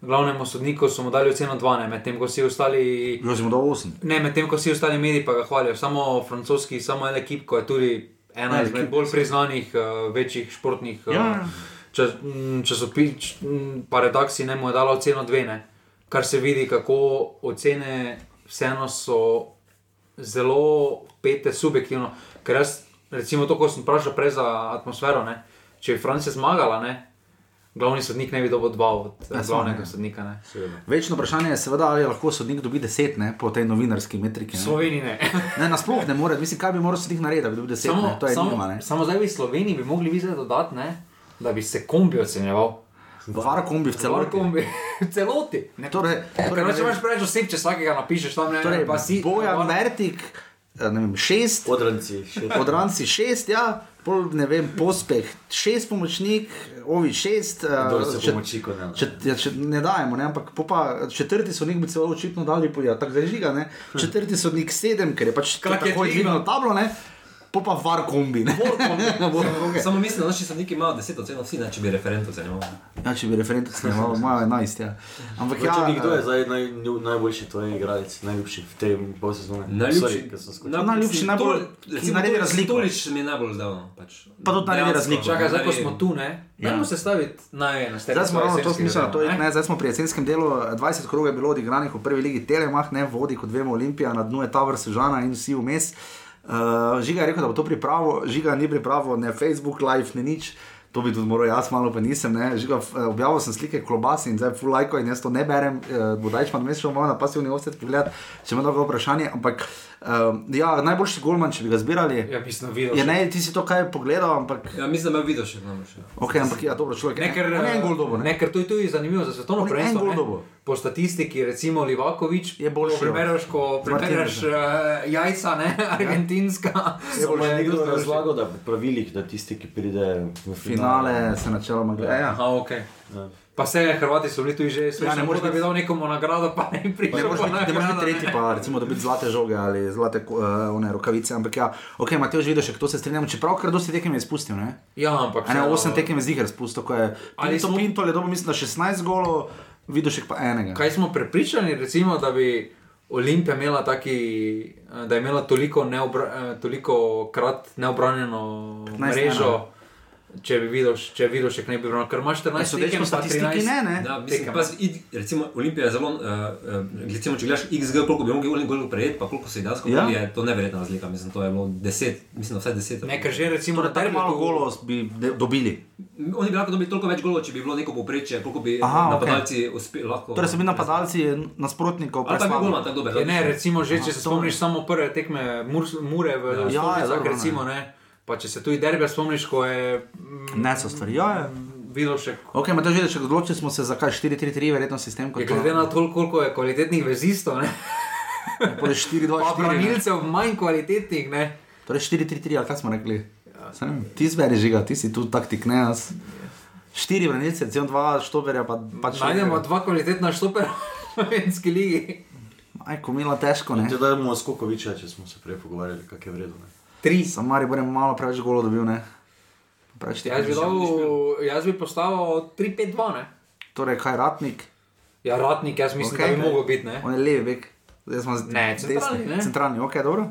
Speaker 3: glavnemu sodniku, so mu dali oceno 12, medtem ko vsi ostali.
Speaker 1: Jaz sem mu dal 8.
Speaker 3: Ne, medtem ko vsi ostali mediji pa ga hvalijo, samo francoski, samo en ekip, ko je tudi ena
Speaker 1: El
Speaker 3: izmed
Speaker 1: Equipe,
Speaker 3: bolj priznanih, uh, večjih športnih uh,
Speaker 1: Ja, ja.
Speaker 3: čas, mm, časopisov, pa redakcij, ne mu je dala oceno dve, ne. kar se vidi, kako ocene vseeno so zelo pete subjektivno. Ker jaz, recimo, to, ko sem vprašal prej za atmosfero, ne, če je Francija zmagala, ne, glavni sodnik ne bi dobil dva od eh,
Speaker 1: Ja, samo,
Speaker 3: glavnega
Speaker 1: ja.
Speaker 3: sodnika. Ne.
Speaker 1: Večno vprašanje je, seveda, ali lahko sodnik dobi 10 ne, po tej novinarski metriki.
Speaker 3: V
Speaker 1: Ne,
Speaker 3: Sloveniji ne.
Speaker 1: ne nasploh ne more, mislim, kaj bi moral sodnik narediti, da bi dobil 10. ne? To je nima, ne.
Speaker 3: samo zdaj v Sloveniji bi mogli videti dodatne, ne, da bi se kombi ocenjeval. Torej
Speaker 1: Vara kombi v celoti.
Speaker 3: kombi, v celoti. Ne,
Speaker 1: Torej, torej,
Speaker 3: Torej,
Speaker 1: ne
Speaker 3: če
Speaker 1: vem.
Speaker 3: imaš preveč oseb, če vsakega napišeš tam ne,
Speaker 1: Torej,
Speaker 3: pa si.
Speaker 1: Bojan Mertik, eh, ne vem, 6.
Speaker 2: Odranci še.
Speaker 1: Odranci šest, ja, pol ne vem, pospeh šest pomočnik, ovi šest. eh,
Speaker 2: Kdo se
Speaker 1: čet-
Speaker 2: pomoči, ko ne, ne.
Speaker 1: čet- ja, čet- Ne dajemo, ne, ampak pol pa četrti sodnik bi celo očitno dali, po- ja, tako zdaj žiga. Ne. Četrti sodnik sedem, ker je pač
Speaker 3: Kak je
Speaker 1: tako
Speaker 3: dvignil.
Speaker 1: dvignil tablo, ne, pol pa var kombi. Ne. Var kombi.
Speaker 4: Samo mislim, da naši sodniki imajo 10 ocen, vsi ne, če bi referentov zanimalo.
Speaker 1: ja, če bi referendum snimal, imajo 11. Ja. Ampak ja,
Speaker 2: Ja, Če nekdo je
Speaker 1: eh,
Speaker 2: zdaj naj, najboljši tvoj igralec, najljubši v tem pol sezone. Sorry, ker sem skočil.
Speaker 4: naj-
Speaker 1: No, Najljubši,
Speaker 4: mislim,
Speaker 1: najbolj-
Speaker 4: Tol-
Speaker 1: ki
Speaker 4: recimo
Speaker 1: naredi
Speaker 4: Tolič-
Speaker 1: razliko.
Speaker 4: Tolič mi je najbolj zdal. Pač.
Speaker 1: Pa tudi naredi
Speaker 4: Dejansko,
Speaker 1: razliko.
Speaker 3: Čakaj, zdaj ko
Speaker 4: naredi-
Speaker 3: smo tu, ne.
Speaker 1: Ja.
Speaker 3: Dajmo sestaviti najeno.
Speaker 1: Zdaj smo ravno to smisel, to je, ne, zdaj smo pri jesenskem delu, 20 krogov je bilo odigranih v prvi ligi Telemah, ne vodi, kot vemo, Olimpija, na dnu je Tavr Sežana in vsi vmes. Uh, žiga je rekel, da bo to pripravo, žiga ni pripravo, ne Facebook Live, ne nič. To bi tudi moral jaz, malo pa nisem. ne. Žiga, f- eh, objavil sem slike klobas in zdaj full lajko in jaz to ne berem, uh, bodaj če imam mesečo malo na pasivni offset pogled, če ima dobro vprašanje. Ampak um, ja, najboljši golman, če bi ga zbirali,
Speaker 3: Ja, mislim, videl.
Speaker 1: je ne, ti si to kaj pogledal, ampak,
Speaker 4: Ja, mislim, da me vidiš še namreč.
Speaker 1: okay, ampak ja, dobro, človek.
Speaker 3: Ne, ker,
Speaker 1: on je en gol dobo, ne.
Speaker 3: ne, ker to je tudi zanimivo za svetovno
Speaker 1: On je en
Speaker 3: prvenstvo.
Speaker 1: gol
Speaker 3: ne.
Speaker 1: dobil.
Speaker 3: po statistiki, recimo Livakovič,
Speaker 1: Je boljši
Speaker 3: Ko prebereš, ko
Speaker 1: od
Speaker 3: prebereš uh, jajca, ne, argentinska.
Speaker 1: Ja.
Speaker 2: Je
Speaker 3: so
Speaker 2: pa že
Speaker 3: me
Speaker 2: nekdo
Speaker 3: dosti-
Speaker 2: razlagal, da po pravilih, da tisti, ki pride v finale,
Speaker 1: Finale se načeloma gleda. Ja.
Speaker 3: Aha, ok. Pa vse, Hrvati so bili tu
Speaker 1: Ja,
Speaker 3: že, slišali,
Speaker 1: ne
Speaker 3: ja,
Speaker 1: moreš
Speaker 3: da bi
Speaker 1: biti-
Speaker 3: dal nekomu nagrado, pa ne
Speaker 1: Pa Ne
Speaker 3: prišel.
Speaker 1: moreš
Speaker 3: po
Speaker 1: biti- ne moreš biti
Speaker 3: nagrado, ne.
Speaker 1: tretji, pa recimo dobiti zlate žoge ali zlate uh, one rokavice. Ampak ja, ok, Matej, že vidiš, kdo se strinjamo, čeprav kar dosti tekem je izpustil. Ne?
Speaker 3: Ja, ampak.
Speaker 1: A Ne,
Speaker 3: vseeno-
Speaker 1: osem tekem je zdigar spustil, ko je
Speaker 3: Ali
Speaker 1: Pinto,
Speaker 3: smo-
Speaker 1: Pinto je dobil, mislim, da 16 golov, vidiš pa enega.
Speaker 3: Kaj smo prepričani, recimo, da bi Olimpija imela taki, eh, da je imela toliko, neobra, eh, toliko krat neobranjeno
Speaker 1: 15
Speaker 3: mrežo, če bi videl, če bi videl, še ne bi bilo, ker imaš 14
Speaker 1: Ne, sodeč po
Speaker 3: tekem, pa
Speaker 1: Ja, statistiki
Speaker 3: 13.
Speaker 1: ne, ne.
Speaker 4: Da, mislim,
Speaker 3: Tekem.
Speaker 4: pazi, id- recimo Olimpija je zelo, uh, uh, recimo, če gledaš XG, koliko bi mogli gol prejeti, pa koliko se je dejansko
Speaker 1: Ja.
Speaker 4: ja. je to neverjetna razlika. Mislim, to je bilo 10, mislim, da vsaj 10.
Speaker 3: Ne, ker že recimo
Speaker 1: Torej,
Speaker 3: na
Speaker 1: tako
Speaker 3: terenu
Speaker 1: malo golov bi de, dobili.
Speaker 4: Oni bi lahko dobili toliko več golov, če bi bilo neko poprečje, koliko bi
Speaker 1: Aha,
Speaker 4: Aha, napadalci okay. uspeli. Lahko,
Speaker 1: Torej so bili napadalci nasprotnikov,
Speaker 4: Ali pa bi
Speaker 1: preslabi.
Speaker 4: golman tako dober.
Speaker 3: Je, ne,
Speaker 4: odlično.
Speaker 3: recimo že,
Speaker 1: Ja, Aha,
Speaker 3: če se spomniš samo prve tekme mur, Mure
Speaker 1: Ja,
Speaker 3: v
Speaker 1: je
Speaker 3: Stolnicah,
Speaker 1: dobro, ne.
Speaker 3: recimo, ne. Pa če se tudi derbe spomniš, ko je mm,
Speaker 1: Ne so stvari. Ja, ja.
Speaker 3: videl še
Speaker 1: Ok, Matej, že vidiš, odločili smo se za kaj 4-3-3, verjetno sistem kot
Speaker 3: Je glede na to, koliko je kvalitetnih vezistov, ne?
Speaker 1: Torej 4-2-4.
Speaker 3: pa
Speaker 1: ne.
Speaker 3: branilcev manj kvalitetnih, ne?
Speaker 1: Torej 4-3-3, ali kaj smo rekli? Saj ne vem, Ti zberi žiga, ti si tu taktik, ne jaz. Štiri vrnilce, recimo dva štoperja, pa pač
Speaker 3: Najdemo dva kvalitetna štoperja v slovenski ligi.
Speaker 1: Aj, komila težko, ne.
Speaker 2: Če dajmo Skokoviča, če smo se prej pogovarjali, kak je vredno.
Speaker 3: Tri.
Speaker 1: Samari bo malo preveč golo dobil, ne. Preveč
Speaker 3: Ja, Jaz bi,
Speaker 1: tekmičen.
Speaker 3: dal, jaz bi postavil 3-5-2, ne?
Speaker 1: Torej, kaj ratnik?
Speaker 3: Ja, ratnik, jaz mislim,
Speaker 1: Okej.
Speaker 3: okay, da bi mogel biti, ne?
Speaker 1: On je levi bek. Zdaj smo z-
Speaker 3: Ne,
Speaker 1: desni.
Speaker 3: centralni, ne.
Speaker 1: Centralni, ok, dobro.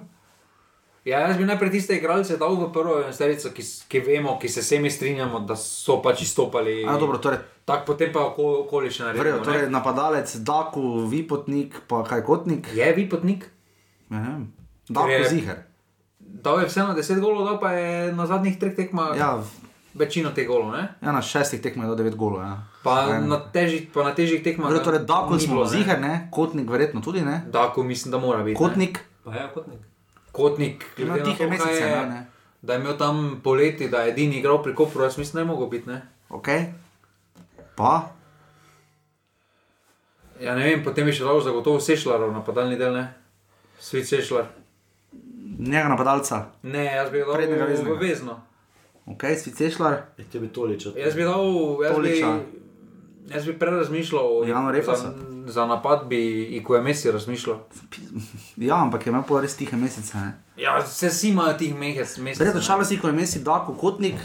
Speaker 3: Ja, jaz bi najprej tiste igralce dal v prvo enajsterico, ki, s- ki vemo, ki se vsemi strinjamo, da so pač izstopali.
Speaker 1: A, dobro torej,
Speaker 3: Tako potem pa oko- okoli še naredimo.
Speaker 1: vrejo,
Speaker 3: Vrejo,
Speaker 1: torej napadalec, Daku, Vipotnik, pa kaj kotnik? Ja,
Speaker 3: Je Vipotnik,
Speaker 1: Ne vem. Daku
Speaker 3: Torej-
Speaker 1: ziher.
Speaker 3: dal je vseeno 10 golov, dal pa je na zadnjih treh tekmah ja.
Speaker 1: Ja, v-
Speaker 3: večino teh golov, ne?
Speaker 1: ja, na šestih tekmah je do devet golov. Ja.
Speaker 3: Pa
Speaker 1: Ajme.
Speaker 3: na, težjih, pa na težjih tekmah.
Speaker 1: Torej, torej Daku
Speaker 3: ni
Speaker 1: smo
Speaker 3: bilo, ne.
Speaker 1: ziher, ne. Kotnik verjetno tudi, ne.
Speaker 3: Dako mislim, da mora biti. ne.
Speaker 1: Kotnik.
Speaker 4: Pa je kot nek.
Speaker 3: Kotnik,
Speaker 1: Ima
Speaker 3: glede na
Speaker 1: tihe
Speaker 3: to, kaj
Speaker 1: mesece,
Speaker 3: je-
Speaker 1: ne, ne.
Speaker 3: Da je imel tam poleti, da je edini igral pri Kopru, jaz mislim, da je mogel biti. Ne?
Speaker 1: Ok. Pa.
Speaker 3: Ja, ne vem, potem je še dal zagotovo Sešlarov napadalni del, ne? Svet Sešlar.
Speaker 1: Njega napadalca.
Speaker 3: Ne, jaz bi ga
Speaker 1: Prednjega
Speaker 3: dal
Speaker 1: veznega.
Speaker 3: obvezno.
Speaker 1: Ok, Svicešlar.
Speaker 2: E, te bi toliča.
Speaker 3: Jaz bi dal, jaz bi,
Speaker 1: Toliča. Ja, no,
Speaker 3: jaz bi prej razmišljal.
Speaker 1: Ivanu Refasu?
Speaker 3: za, za napad bi Ikuja Messi razmišljal.
Speaker 1: Ja, ampak je imel pa res tihe mesece. Ne.
Speaker 3: Ja, vse si imajo tih mehec, mesec.
Speaker 1: Verjetno čalosti, ko je mesi Dako kotnik,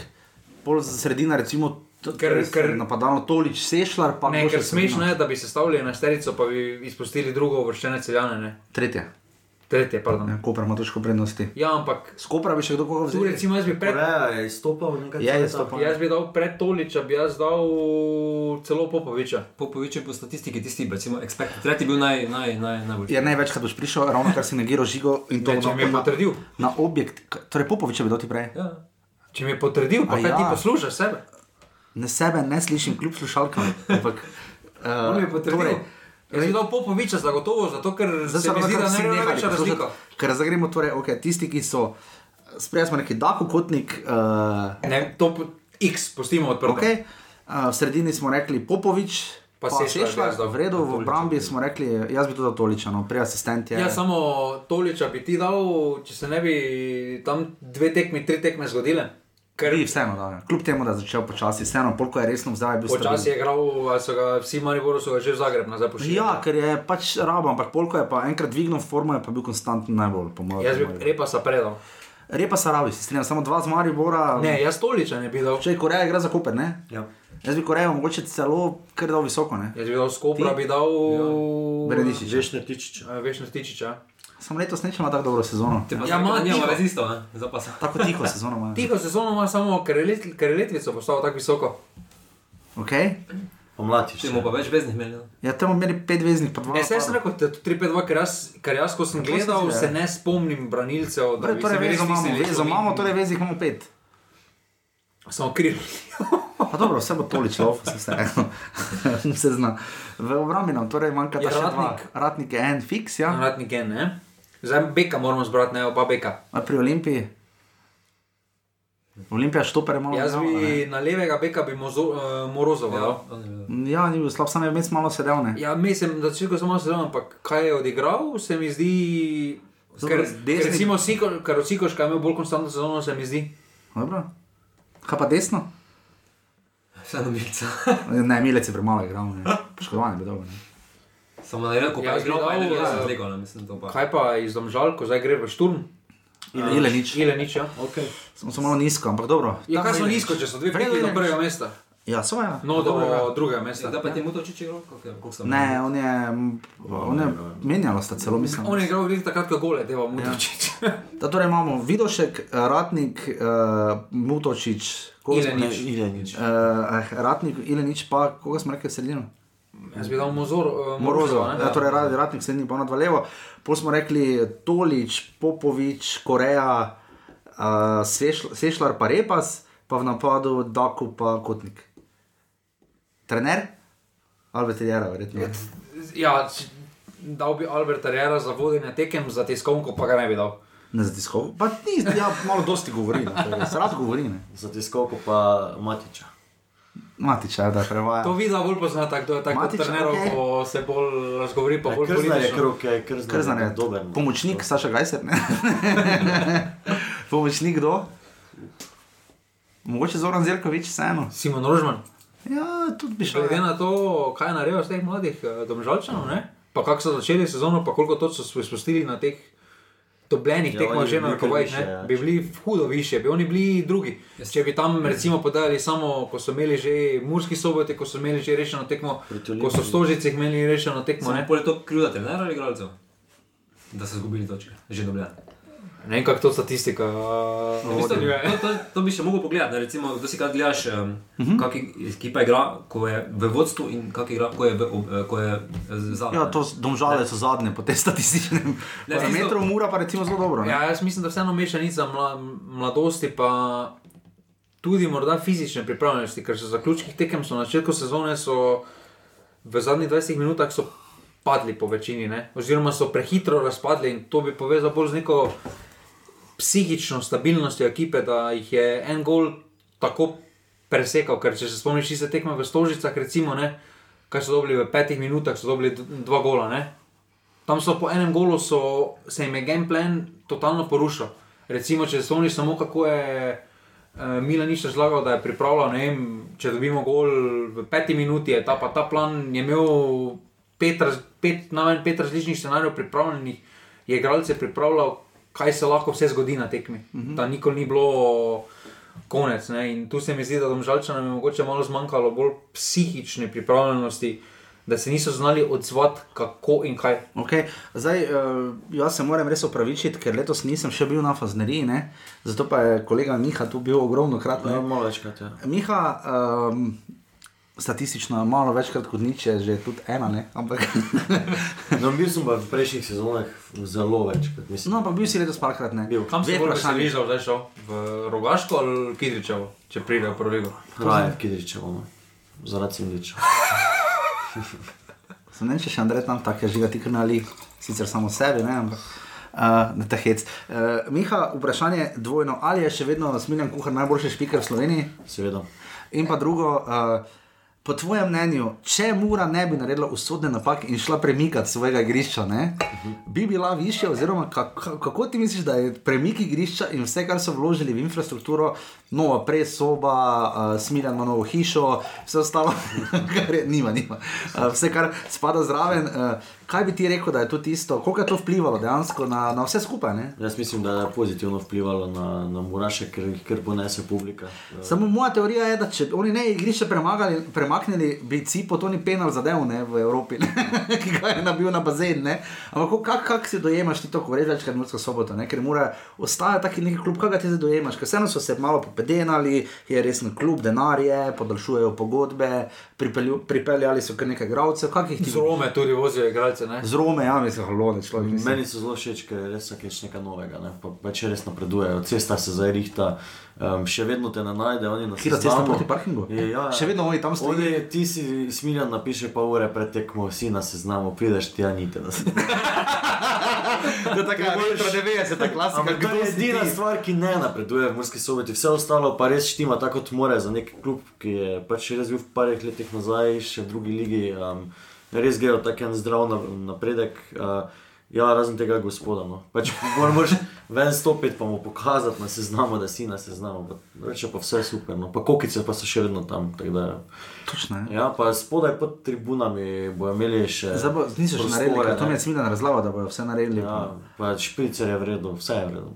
Speaker 1: pol za sredina recimo.
Speaker 3: Ker- ker-
Speaker 1: napadalno tolič sešlar, pa
Speaker 3: Ne,
Speaker 1: bo še
Speaker 3: ker
Speaker 1: sredina.
Speaker 3: smešno je, da bi sestavili enajsterico, pa bi izpustili drugo uvrščene celjane, ne?
Speaker 1: Tretje,
Speaker 3: Tretje, pardon.
Speaker 1: ja, ko ima točko prednosti.
Speaker 3: Ja, ampak
Speaker 1: Skopra bi še kdo koga
Speaker 3: tu
Speaker 1: vzel.
Speaker 3: recimo jaz bi pred
Speaker 2: Koreja je izstopal nekaj
Speaker 1: Je
Speaker 2: časa.
Speaker 1: izstopal.
Speaker 3: Jaz bi dal pred Toliča, bi jaz dal celo Popoviča.
Speaker 4: Popovič je po statistiki tisti, recimo, expected threat je bil naj, naj, naj, najboljši.
Speaker 1: Ja, največkrat boš prišel, ravno kar si negiral žigo in to
Speaker 3: Ne, če mi je
Speaker 1: na,
Speaker 3: potrdil,
Speaker 1: na objekt. K- Torej, Popovič je bil doti prej.
Speaker 4: Ja.
Speaker 3: če mi je potrdil,
Speaker 1: A
Speaker 3: pa kaj
Speaker 1: ja.
Speaker 3: ti poslušaš sebe.
Speaker 1: Ne sebe ne slišim, kljub slušalkam. Ampak, uh,
Speaker 3: On mi je potrdil.
Speaker 1: torej,
Speaker 3: Jaz bi dal Popoviča zagotovo, zato ker
Speaker 1: Zdaj
Speaker 3: se
Speaker 1: se
Speaker 3: mi
Speaker 1: lahko
Speaker 3: zdi, da
Speaker 1: vsi
Speaker 3: ne
Speaker 1: nehali
Speaker 3: gre več
Speaker 1: poslušati,
Speaker 3: razlika.
Speaker 1: Ker zagremo torej, ok, tisti, ki so, sprejeli smo neki Dako kotnik, uh,
Speaker 3: Ne, to po- X pustimo odprto.
Speaker 1: ok, uh, v sredini smo rekli Popovič.
Speaker 3: Pa Sešlar,
Speaker 1: Sešlar,
Speaker 3: jaz
Speaker 1: da
Speaker 3: dam
Speaker 1: v redu, v obrambi smo rekli, jaz bi to dal toličano, no, prej asistent je.
Speaker 3: Ja, samo Toliča bi ti dal, če se ne bi tam dve tekmi, tri tekme zgodile. Ker
Speaker 1: Bi vseeno, da, kljub temu, da je začel počasi, vseeno, polko je resno vzdaj, bil
Speaker 3: počasi je igral, a so ga vsi Mariboru so ga že v Zagreb nazaj pošiljali.
Speaker 1: Ja, ker je pač rabo, ampak polko je pa enkrat dvignil formo, je pa bil konstantno najbolj, po mojem.
Speaker 3: Jaz bi repa sa predal.
Speaker 1: Repa se rabi, se strinjam, samo dva z Maribora.
Speaker 3: Ne, jaz Toliča ne bi dal.
Speaker 1: Če je Koreja igra za Koper, ne?
Speaker 2: Ja.
Speaker 1: Jaz bi Korejo mogoče celo kar dal visoko, ne?
Speaker 3: Jaz bi dal
Speaker 1: Ti?
Speaker 3: Skopra,
Speaker 1: Ja.
Speaker 3: bi dal...
Speaker 1: Benedišič.
Speaker 2: Žešne tičiča.
Speaker 3: Eh, Veš, Stičiča.
Speaker 1: Sem letos nečem imel tako dobro sezono.
Speaker 4: Te pa
Speaker 3: Ja,
Speaker 4: ja,
Speaker 3: ima
Speaker 4: ima, nima
Speaker 3: tiho.
Speaker 4: rezistov, ne? Zdaj pa se.
Speaker 1: Tako tiho sezono imam.
Speaker 3: Tiho sezono ima samo, ker je let- ker je letvico postavil tako visoko.
Speaker 1: Okay.
Speaker 2: Pomlatič.
Speaker 4: Če mu pa več veznih imeli. ne.
Speaker 1: Ja, tam imamo imeli pet veznih, pa dva.
Speaker 3: Ne, saj sem
Speaker 1: napada.
Speaker 3: rekel, da je to 3-5-2, ker jaz, ker jaz ko sem
Speaker 1: To se
Speaker 3: gledal,
Speaker 1: zdi,
Speaker 3: se
Speaker 1: ja.
Speaker 3: ne spomnim branilcev, da
Speaker 1: Torej,
Speaker 3: bi
Speaker 1: torej
Speaker 3: se mi res
Speaker 1: vezo imamo,
Speaker 3: mislili,
Speaker 1: vezo
Speaker 3: to mi-
Speaker 1: imamo, torej vezih imamo pet.
Speaker 3: Samo kriv.
Speaker 1: Pa dobro, vse bo toličilo, vse vseeno. se zna. V obrambi nam torej manjka ta
Speaker 3: Ja,
Speaker 1: še dva.
Speaker 3: Ratnik.
Speaker 1: Ratnik je en fiks, ja.
Speaker 3: Ratnik je, ne? Zdaj beka moramo zbrati, ne, oba beka.
Speaker 1: A pri Olimpiji. Olimpija štoper je malo
Speaker 3: Jaz
Speaker 1: igrala, No, ne.
Speaker 3: bi na levega beka bi mozo, uh, Morozov dal.
Speaker 1: Ja, ni bil slab, sam je vmes malo sedel. Ne?
Speaker 3: Ja, mislim, da če sem malo sedel, ampak kaj je odigral, se mi zdi.
Speaker 1: Zato,
Speaker 3: Ker,
Speaker 1: ker
Speaker 3: ker
Speaker 1: No, desni-
Speaker 3: recimo Siko, ker od Sikoška je imel bolj konstantno sezono, se mi zdi.
Speaker 1: Dobro. Kaj pa desno? E,
Speaker 4: Vseeno milica.
Speaker 1: Ne, milec je premalo igral, ne. poškodovan je bil dolgo. ne.
Speaker 4: Samo na reku,
Speaker 3: Ja,
Speaker 4: pa je igral, pa je
Speaker 3: igral,
Speaker 4: igral,
Speaker 3: ja.
Speaker 4: sem zlegal, ne mislim to pa.
Speaker 3: Kaj pa iz Domžal, ko zdaj gre v Šturm?
Speaker 1: Ile nič.
Speaker 3: Ile nič, ja.
Speaker 2: Okay.
Speaker 1: Smo samo malo nizko, ampak dobro.
Speaker 3: Ja,
Speaker 1: Tam
Speaker 3: kaj smo
Speaker 1: Ilenič.
Speaker 3: nizko, če so dve
Speaker 1: Vredo
Speaker 3: peti do
Speaker 1: Ilenič.
Speaker 3: prvega mesta.
Speaker 1: Ja, svoja.
Speaker 3: No, do drugega mesta.
Speaker 4: Da pa ti Mutočič igral, kako je? koliko sem-
Speaker 1: Ne, on je, m, on je menjala sta celo, mislim.
Speaker 3: On je igral glih takrat, ko gole,
Speaker 1: Ja.
Speaker 3: deva mu točič.
Speaker 1: Da, torej imamo Vidošek, eh, Ratnik, uh, Mutočič, koga smo-
Speaker 3: Ilenič.
Speaker 2: Ile nič.
Speaker 1: Eh, eh, Ratnik, Ilenič, pa koga smo rekli v sredino?
Speaker 3: Jaz bi dal Mozor, uh,
Speaker 1: Morozov,
Speaker 3: Morozova,
Speaker 1: ja, torej radi ratnik, srednji pa na dva levo. Pol smo rekli Tolič, Popovič, Koreja, uh, Sešl, Sešlar pa Repas, pa v napadu Daku pa Kotnik. Trener? Albert Jera, verjetno. Ja.
Speaker 3: Ja, č- dal bi Alberta Rera za vodenje tekem, za tiskovko pa ga ne bi dal.
Speaker 1: Ne zatiskal. Pa ni, ja, malo dosti govori, ne, torej, se rad govori. ne.
Speaker 2: Za tiskovko pa Matiča.
Speaker 1: Matič, ja, da prevaja.
Speaker 3: To videl bolj pozna, tako da je tako
Speaker 1: Matić,
Speaker 3: trenerov,
Speaker 1: okej. Ja,
Speaker 3: ko se bolj razgovori, pa bolj
Speaker 2: Krznar E, je
Speaker 3: politično.
Speaker 2: krok, je krznar.
Speaker 1: Krznar je
Speaker 2: dober. no.
Speaker 1: Pomočnik Saša Gajser, ne? Pomočnik kdo? Mogoče Zoran Zirkovič, vseeno.
Speaker 3: Simon Rožman.
Speaker 1: Ja, tudi bi šel.
Speaker 3: Glede na to, kaj je naredil s teh mladih eh, domžalčanov, ne? pa kako so začeli sezono, pa koliko točk so se spustili na teh dobljenih
Speaker 2: Ja,
Speaker 3: tekmah,
Speaker 2: oni
Speaker 3: že
Speaker 2: bi
Speaker 3: na
Speaker 2: bili kar
Speaker 3: rokovajih,
Speaker 2: više, ja.
Speaker 3: ne? bi bili hudo više, bi oni bili drugi. Če bi tam recimo podali samo, ko so imeli že Murski sobote, ko so imeli že rešeno tekmo,
Speaker 2: Proti Olimpiji.
Speaker 3: ko so v Stožicah imeli rešeno tekmo,
Speaker 4: Samo
Speaker 3: ne?
Speaker 4: pol je to krivda trenera ali igralcev? Da so izgubili točke, že dobljene.
Speaker 3: Ne vem, kako to statistika. eh,
Speaker 4: V bistvu,
Speaker 3: vodi.
Speaker 4: To, to, to bi še mogel pogledati, ne, recimo, kdo si kaj gledaš, um, uh -huh. kak ekipa igra, ko je v vodstvu in kak igra, ko je, v, ob- eh, ko je zadnji.
Speaker 1: Ja, to s- domžale so zadnje po tem statističnem
Speaker 4: Ne, tisto-
Speaker 1: parametru, mura pa recimo zelo dobro. Ja.
Speaker 3: Ja, jaz mislim, da vseeno mešanica mla, mladosti pa tudi morda fizične pripravljenosti, ker so zaključkih tekem so na začetku sezone so v zadnjih 20 minutah so padli po večini, ne? oziroma so prehitro razpadli in to bi povezal bolj z neko psihično stabilnostjo ekipe, da jih je en gol tako presekal, ker če se spomniš tiste tekme v Stožicah, recimo, ne, kaj so dobili v petih minutah, so dobili d- dva gola, ne. Tam so po enem golu, so, se jim je game plan totalno porušil. Recimo, če se spomniš samo kako je uh, Milan nič razlagal, da je pripravljal, ne vem, če dobimo gol v peti minuti, je ta pa ta plan, je imel pet, raz, pet, najmanj pet različnih scenarijev pripravljenih, je igralce pripravljal, kaj se lahko vse zgodi na tekmi. Mm -hmm. Da nikoli ni bilo konec. Ne? In tu se mi zdi, da domžalčanom je mogoče malo zmanjkalo bolj psihične pripravljenosti, da se niso znali odzvati, kako in kaj.
Speaker 1: Okay. Zdaj, eh, jaz se moram res opravičiti, ker letos nisem še bil na Fazneriji, ne? zato pa je kolega Miha tu bil ogromno krat.
Speaker 2: Ja,
Speaker 1: Ne?
Speaker 2: malo večkrat, ja.
Speaker 1: Miha, um, statistično je malo večkrat kot nič, je že tudi ena, ne? ampak.
Speaker 2: No, bil sem pa v prejšnjih sezonah zelo večkrat, mislim.
Speaker 1: no, ampak bil si letos parkrat ne.
Speaker 2: Bil.
Speaker 3: Kam se
Speaker 1: Dve
Speaker 3: bolj
Speaker 1: vprašanji.
Speaker 3: veseliš, da boš zdaj šel? V Rogaško ali Kidričevo, če pridejo v Proligo?
Speaker 2: Raje, Kidričevo, no. zaradi Simliča.
Speaker 1: Sem ne vem, če še Andrej tam tako žiga, ti kanali, sicer samo sebe, ne, ampak uh, ne te hec. Uh, Miha, vprašanje dvojno, ali je še vedno Smiljan Kuhar najboljši špiker v Sloveniji?
Speaker 2: Seveda.
Speaker 1: In pa drugo, uh, po tvojem mnenju, če Mura ne bi naredila usodne napake in šla premikati svojega igrišča, ne, bi bila višja, oziroma kako, kako ti misliš, da je premik igrišča in vse, kar so vložili v infrastrukturo, nova presoba, uh, smiljan ima novo hišo, vse ostalo, kar je, nima, nima. Uh, vse, kar spada zraven. Uh, kaj bi ti rekel, da je to tisto, koliko je to vplivalo dejansko na, na vse skupaj? Ne?
Speaker 2: Jaz mislim, da je pozitivno vplivalo na, na Muraše, ker jih kar ponese publika.
Speaker 1: Samo moja teorija je, da če bi oni ne igrišče premagali- premaknili, bi Cipo to ni penal zadev ne, v Evropi, ne, ki ga je nabil na bazen. Ne. Ampak kako kak, kak si dojemaš ti to, ko rečeš, da je Murska sobota, ne, ker mora ostati taki neki klub, kaj ga ti zdaj dojemaš, ker vseeno so se malo popedenali, je resen klub, denar je, podaljšujejo pogodbe, pripelju, pripeljali so kar nekaj gravcev, kakih ti
Speaker 3: Rome tudi vozijo igralce, ne?
Speaker 1: Zrome, ja, mislim, halone človek. Mislim.
Speaker 2: Meni so zelo všeč, ker je res vsakeč nekaj novega, ne? pa, pa če res napredujejo, cesta se zdaj rihta, um, še vedno te ne najde, oni nas
Speaker 1: Hitro cesta proti parkingu?
Speaker 2: Ja, ja.
Speaker 1: Še vedno oni tam stojijo,
Speaker 2: Kakorkoli ti si smiljen, napiše pa ure pred tekmo, vsi na seznamu, prideš ti, ja a niti nas.
Speaker 1: To je taka retro 90-ta klasika,
Speaker 2: Ampak to
Speaker 1: kdo
Speaker 2: je
Speaker 1: si ti?
Speaker 2: edina stvar, ki ne napreduje v Murski soboti, vse ostalo pa res štima tako, kot mora za nek klub, ki je pač res bil v parih letih nazaj, še v drugi ligi. Um, res grejo tako en zdrav na- napredek. Uh, ja, razen tega gospoda. No. Pač mor- moraš ven stopiti, pa mu pokazati na seznamu, da si na seznamu. Pa Reče pa vse super, no. pa kokice pa so še vedno tam. tako Da,
Speaker 1: Točno, ne.
Speaker 2: ja, pa spodaj pod tribunami bojo imeli še.
Speaker 1: Zdaj bo- niso še naredili,
Speaker 2: prostore,
Speaker 1: ker to
Speaker 2: ne.
Speaker 1: mi je smiljena razlava, da bojo vse naredili.
Speaker 2: Ja, pa špricer je vredno, vse je vredno.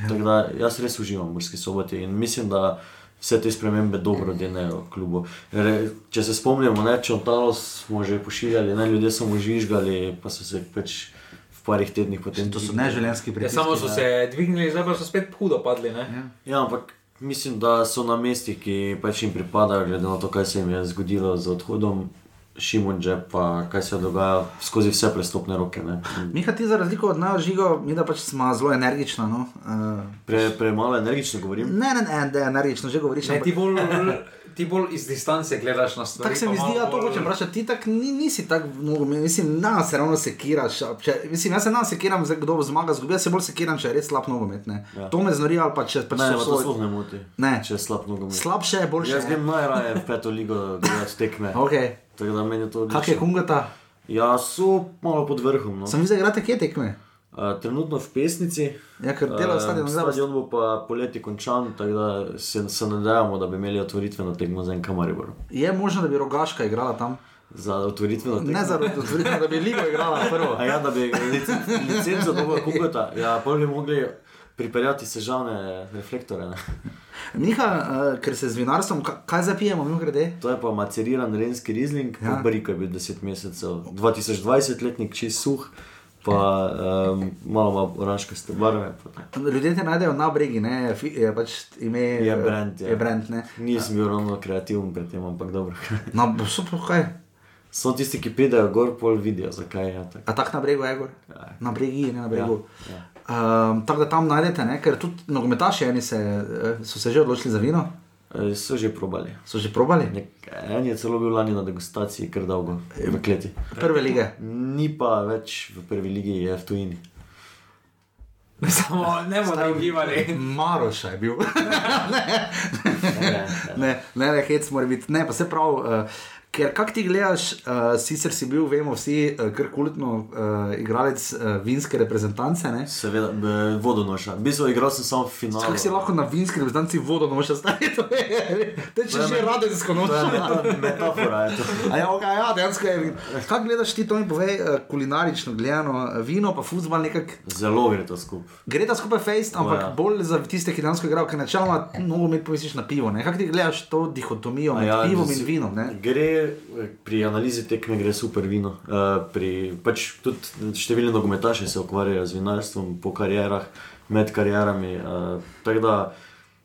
Speaker 1: Ja.
Speaker 2: Tako da jaz res uživam v Murski soboti in mislim, da vse te spremembe dobro denejo klubu. Re, če se spomnimo, ne, čontalo smo že pošiljali, ne, ljudje so mu žvižgali, pa so se pač v parih tednih potem.
Speaker 1: To so neželenski
Speaker 3: Ja,
Speaker 1: pritiski.
Speaker 3: samo so se dvignili, zdaj pa so spet hudo padli. Ne?
Speaker 2: Ja, ampak mislim, da so na mestih, ki pač jim pripadajo, glede na to, kaj se jim je zgodilo z odhodom. Šimunže, pa kaj se dogaja skozi vse prestopne roke. ne.
Speaker 1: Miha, ti za razliko od nas, žigo, mi da pač smo zelo energična. No? Uh,
Speaker 2: Pre, premalo energično govorim.
Speaker 1: ne, ne, ne, ne, energično, že govoriš.
Speaker 3: Ne,
Speaker 1: ampak-
Speaker 3: ti, bolj, ti bolj iz distance gledaš na stvari.
Speaker 1: Tako se
Speaker 3: pa
Speaker 1: mi
Speaker 3: malo
Speaker 1: zdi, da to
Speaker 3: bolj-
Speaker 1: hočem vprašati. Ti tak, ni, nisi tako mnogo, mislim, na se ravno sekiraš. a Če, mislim, jaz se na sekiram, zdaj kdo zmaga, zgubi, jaz se bolj sekiram, če je res slab nogomet. ne.
Speaker 2: Ja.
Speaker 1: To me znori ali pa če pač
Speaker 2: Ne,
Speaker 1: so
Speaker 2: pa to
Speaker 1: vso-
Speaker 2: sploh ne moti.
Speaker 1: Ne.
Speaker 2: Če je slab nogomet.
Speaker 1: Slabše je boljše.
Speaker 2: Jaz
Speaker 1: ne.
Speaker 2: grem najraje v peto ligo gledati tekme.
Speaker 1: Okay.
Speaker 2: Tako da meni je to
Speaker 1: Kak je
Speaker 2: odlično.
Speaker 1: hungata?
Speaker 2: Ja, so malo pod vrhom. No.
Speaker 1: Sem videl, da igrate kje tekme.
Speaker 2: Uh, trenutno v pesnici.
Speaker 1: Ja, ker delajo
Speaker 2: Eh,
Speaker 1: stadion zdaj.
Speaker 2: Stadion bo pa poleti končan, tako da se, se nadejamo, da bi imeli otvoritveno tekmo za en kamaribor.
Speaker 1: Je možno, da bi rogaška igrala tam.
Speaker 2: Za otvoritveno tekmo.
Speaker 1: Ne za rogaška, da bi ligo igrala prvo.
Speaker 2: A ja, da bi licen- licenco dobro kukota. Ja, pa bi mogli pripeljati sežane reflektore. Ne.
Speaker 1: Miha, eh, ker se z vinarstvom, ka- kaj zapijemo, mi grede?
Speaker 2: To je pa maceriran renski rizling,
Speaker 1: Ja.
Speaker 2: ja. Briko je bil 10 mesecev, 2020-letnik čist suh, pa um, malo ima oranžkaste barve. pa tako.
Speaker 1: Ljudje te najdejo na bregi, ne, Fi- je pač ime.
Speaker 2: Je brand,
Speaker 1: Je,
Speaker 2: ja.
Speaker 1: je brand, ne.
Speaker 2: Nisem bil ravno kreativen pri tem, ampak dobro.
Speaker 1: No, so pa kaj.
Speaker 2: So tisti, ki pridejo gor, pol vidijo, zakaj je tako.
Speaker 1: A tak na bregu je gor?
Speaker 2: Ja.
Speaker 1: Na bregi, ne na bregu.
Speaker 2: Ja,
Speaker 1: Um, tako da tam najdete, ne? ker tudi nogometaši eni se, eh, so se že odločili za vino,
Speaker 2: E, So že probali.
Speaker 1: so že probali.
Speaker 2: Nek, en je celo bil lani na degustaciji, kar dolgo, v kleti.
Speaker 1: Prve lige.
Speaker 2: Ni pa več v prvi ligi, je v tujini.
Speaker 3: Samo ne bomo tam gibali.
Speaker 1: Maroša je bil. ne,
Speaker 2: Ne,
Speaker 1: ne, ne, ne, hec mora biti. Ne, pa se pravi, uh, ker kak ti gledaš, uh, sicer si bil, vemo vsi, uh, kar kultno uh, igralec uh, vinske reprezentance, ne?
Speaker 2: Seveda, b- vodonoša. V bistvu igral sem samo finale.
Speaker 1: Kako si lahko na vinski reprezentanci vodo noša stari, to je, teče že radensko
Speaker 2: To je
Speaker 1: noč.
Speaker 2: meta- metafora. Je to.
Speaker 1: A Ja, okay, ja, dejansko je. Kaj gledaš ti, to mi povej, eh, kulinarično gledano, eh, vino pa futbol nekako.
Speaker 2: Zelo gre to skupaj.
Speaker 1: Gre ta skupaj fejst, ampak
Speaker 2: Ja.
Speaker 1: ja. bolj za tiste, ki dejansko igrajo, ker načeloma nogomet pomisliš na pivo. ne. Kako ti gledaš to dihotomijo med ja, pivom in
Speaker 2: z-
Speaker 1: vinom? Ne?
Speaker 2: Gre pri analizi tekme, gre super vino. Uh, pri, pač tudi številni nogometaši se ukvarjajo z vinarstvom po karjerah, med karjerami. Uh, tako da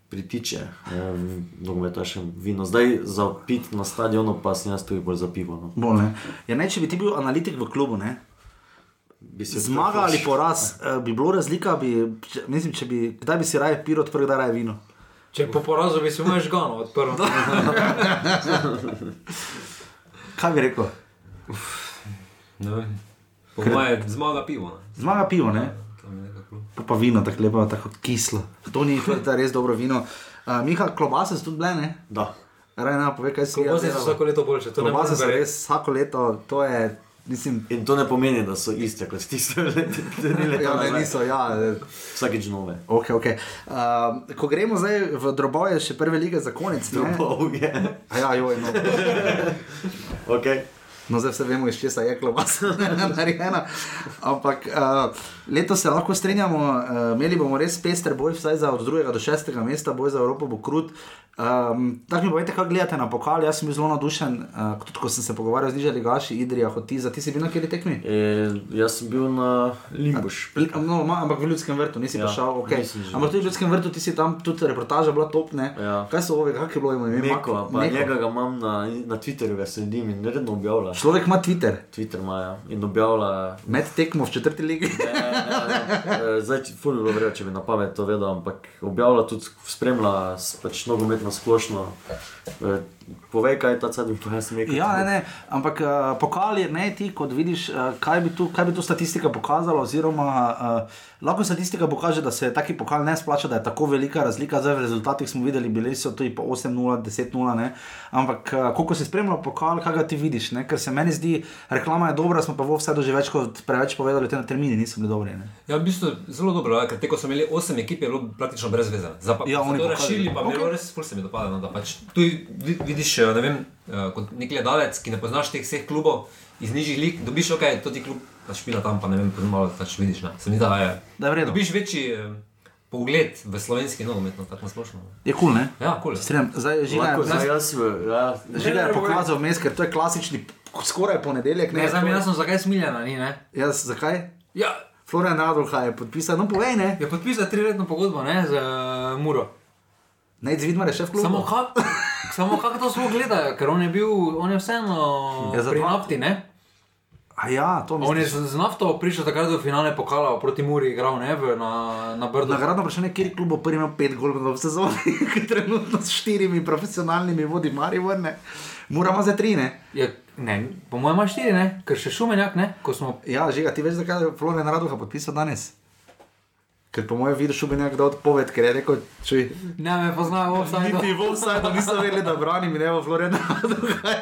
Speaker 2: pritiče uh, nogometašem vino. Zdaj za pit na stadionu pa sem jaz tudi bolj za pivo. No.
Speaker 1: Bolj, ne. Ja, ne, če bi ti bil analitik v klubu, ne?
Speaker 2: Bi se
Speaker 1: zmaga
Speaker 2: tako-
Speaker 1: ali poraz, eh, bi bilo razlika, bi, če- mislim, če bi, kdaj bi si raje piro odprl, da raje vino.
Speaker 3: Če po porazu bi si mu že gano odprl.
Speaker 1: Ja, Kaj bi rekel?
Speaker 4: Ne vem. Po moje zmaga pivo. ne.
Speaker 1: Zmaga pivo, ne?
Speaker 4: Tam je nekako.
Speaker 1: Pa, pa vino, tako lepo, tako kislo. To ni to je ta res dobro vino. Uh, Miha, klobase so tudi bile, ne?
Speaker 2: Da.
Speaker 1: Raj nam pove, kaj se je
Speaker 3: Klobase so vsako leto boljše, to ne morem
Speaker 1: Klobase ja. so
Speaker 3: verjeti.
Speaker 1: res vsako leto, to je, mislim,
Speaker 2: In to ne pomeni, da so iste kot tiste, ki
Speaker 1: ja, ne,
Speaker 2: jih
Speaker 1: niso, ja. eh,
Speaker 2: vsakeč nove.
Speaker 1: Okay, okay. Uh, ko gremo zdaj v drobove, še prve lige za konec. ne?
Speaker 2: Pol je.
Speaker 1: A Ja, joj, no.
Speaker 2: Okay.
Speaker 1: no, zdaj vse vemo, iz česa je klobasa narejena. Ampak uh, letos se lahko strinjamo, uh, imeli bomo res pester boj, vsaj za od 2. do 6. mesta, boj za Evropo bo krut. Um, tako mi povete, kako gledate na pokal, jaz sem bil zelo navdušen, uh, tudi ko sem se pogovarjal z nižjimi gaši, Idrija, Hotiza, ti si bil na kateri tekmi?
Speaker 2: E, jaz sem bil na Limbuš.
Speaker 1: No, ma, ampak v ljudskem vrtu nisi ja,
Speaker 2: Ja,
Speaker 1: prišel, okay.
Speaker 2: nisem že.
Speaker 1: ampak tudi v ljudskem vrtu ti si tam, tudi reportaža bila topne.
Speaker 2: Ja.
Speaker 1: Kaj so ove, kakšno je bilo ime?
Speaker 2: Neko, pa
Speaker 1: Meko.
Speaker 2: njega ga imam na, na Twitterju, ga sledim in redno objavlja.
Speaker 1: Človek ima Twitter,
Speaker 2: Twitter ima ja. in objavlja. e,
Speaker 1: med tekmo v četrti ligi.
Speaker 2: Ne, ne, ne. Eh, Zdaj, fulj bi bilo vrelo, če bi na pamet to vedel, ampak objavlja tudi, spremlja s- pač nogometne na splošno. Eh, Povej, kaj je ta zadnji, pa jaz nekaj.
Speaker 1: Ja, ne, ne. Ampak uh, pokal je ne ti, kot vidiš, uh, kaj, bi tu, kaj bi tu statistika pokazala. Oziroma, uh, lahko statistika pokaže, da se taki pokal ne splača, da je tako velika razlika. Zdaj v rezultatih smo videli, bili so tudi po 8-0, 10-0. ne. Ampak uh, koliko si spremljal pokal, kaj ga ti vidiš. Ne? Ker se meni zdi, reklama je dobra, smo pa v vsedu že več kot preveč povedali, te termini niso bili dobri. Ne?
Speaker 4: Ja, v bistvu zelo dobro, ja, ker teko smo imeli 8 ekip, je bilo praktično brez veze. Za pa,
Speaker 1: Ja,
Speaker 4: ja,
Speaker 1: oni
Speaker 4: to
Speaker 1: pokali.
Speaker 4: razširili, pa okay.
Speaker 1: Okej.
Speaker 4: bilo res, ful se mi dopada. No, da pač tu vi- vidiš, eh, ne vem, eh, kot nek gledalec, ki ne poznaš teh vseh klubov iz nižjih lig, dobiš, ok, to ti klub pač špila tam, pa ne vem, tudi malo pač vidiš. Ne. Se mi da, je,
Speaker 1: Da je v redu.
Speaker 4: Dobiš večji eh, pogled v slovenski nogomet, no, tako na splošno. no.
Speaker 1: Je kul, cool, ne?
Speaker 4: Ja, kul. Cool.
Speaker 1: Strem, zdaj že
Speaker 2: Lahko
Speaker 1: nekaj.
Speaker 2: zdaj jaz, v- ja,
Speaker 1: Že ga je pokazal vmes, ker to je klasični, skoraj ponedeljek.
Speaker 3: Ne, zdaj
Speaker 1: To
Speaker 3: mi je
Speaker 1: je-
Speaker 3: jasno, zakaj smiljena ni, ne?
Speaker 1: Jaz, zakaj?
Speaker 3: Ja,
Speaker 1: Florian Radulha je podpisal, no povej, ne.
Speaker 3: je podpisal triletno pogodbo, ne, z uh, Muro.
Speaker 1: Ne, zvidmar je še v klubu.
Speaker 3: Samo kako samo kak to smo gledali, ker on je bil, on je vseeno
Speaker 1: Ja, za
Speaker 3: pri
Speaker 1: dva-
Speaker 3: nafti, ne?
Speaker 1: A ja, to
Speaker 3: On
Speaker 1: mislim.
Speaker 3: je z z nafto prišel takrat do finale pokala, proti Muri igral, ne, v, na, na brdu.
Speaker 1: Nagradno vprašanje, kjer klub bo prvi imel pet golov v sezoni, ki trenutno s štirimi profesionalnimi vodi Maribor, ne. Moramo za tri, ne.
Speaker 3: Ja, ne, po mojem ima štiri, ne, ker še šumenjak, ne, ko smo...
Speaker 1: Ja, žiga, ti veš, zakaj je Florian Radulha podpisal danes? Ker po mojem vidiš, bi nekdo odpoved, ker je rekel, čuj.
Speaker 3: Ne, me poznajo, obstajajo.
Speaker 1: Niti v vsajdu niso vedeli, da branim, ne v Floridu.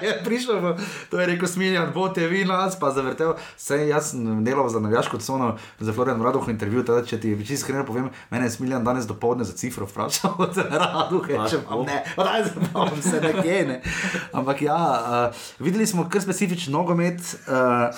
Speaker 1: Je prišel, v, to je rekel, smiljen, bote vi nas, pa zavrtel. Sej jaz sem delal za navijaško cono, za Florian Raduh intervju, teda, če ti čisto iskreno povem, mene je smiljen danes dopoledne za cifro vprašal od Raduh, če pa ne, raje zapomnim se nekje, ne. Ampak ja, uh, videli smo kar specifičen nogomet. Uh,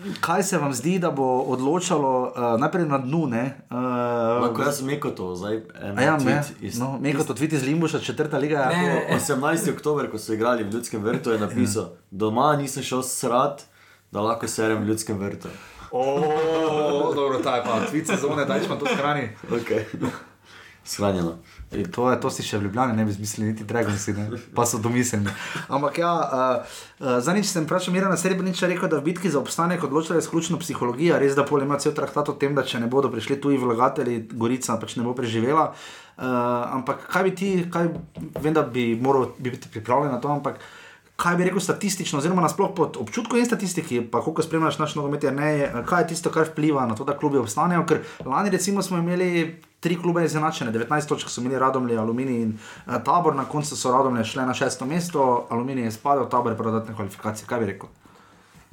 Speaker 1: Kaj se vam zdi, da bo odločalo uh, najprej na dnu? Ne, uh,
Speaker 2: Lahko jaz meko to, zdaj
Speaker 1: A Ja,
Speaker 2: eno
Speaker 1: me,
Speaker 2: tweet iz
Speaker 1: no, me kot odvit iz Limbuša, četrta liga. ja, je
Speaker 3: Ne,
Speaker 1: to-
Speaker 3: ne.
Speaker 2: 18. oktober, ko so igrali v Ljudskem vrtu, je napisal: Doma nisem šel srat, da lahko serem v Ljudskem vrtu.
Speaker 1: O, dobro, ta je pa tvit sezone, da smo to shrani.
Speaker 2: Okay. Shranjeno. In
Speaker 1: To, je, to si še v Ljubljani ne bi zmislili, niti Dragoci, ne? pa so domiselni. Ampak ja, uh, uh, za nič sem vprašal, Mirana Srebreniča rekel, da v bitki za obstanek odločila izključno psihologija, res da polje ima cel traktat o tem, da če ne bodo prišli tuji vlagatelji, Gorica pač ne bo preživela. Uh, ampak kaj bi ti, kaj, vem, da bi moral bi biti pripravljen na to, ampak kaj bi rekel statistično, oziroma nasploh pod občutkom in statistiki, pa koliko spremljaš naš nogomet, je ne, je, kaj je tisto, kar vpliva na to, da klubi obstanejo. Ker lani recimo smo imeli tri klube izenačene, 19 točk so imeli Radomlje, Aluminij in eh, Tabor, na koncu so Radomlje šle na šesto mesto, Aluminij je spadal, Tabor je pa dodatne kvalifikacije, kaj bi rekel.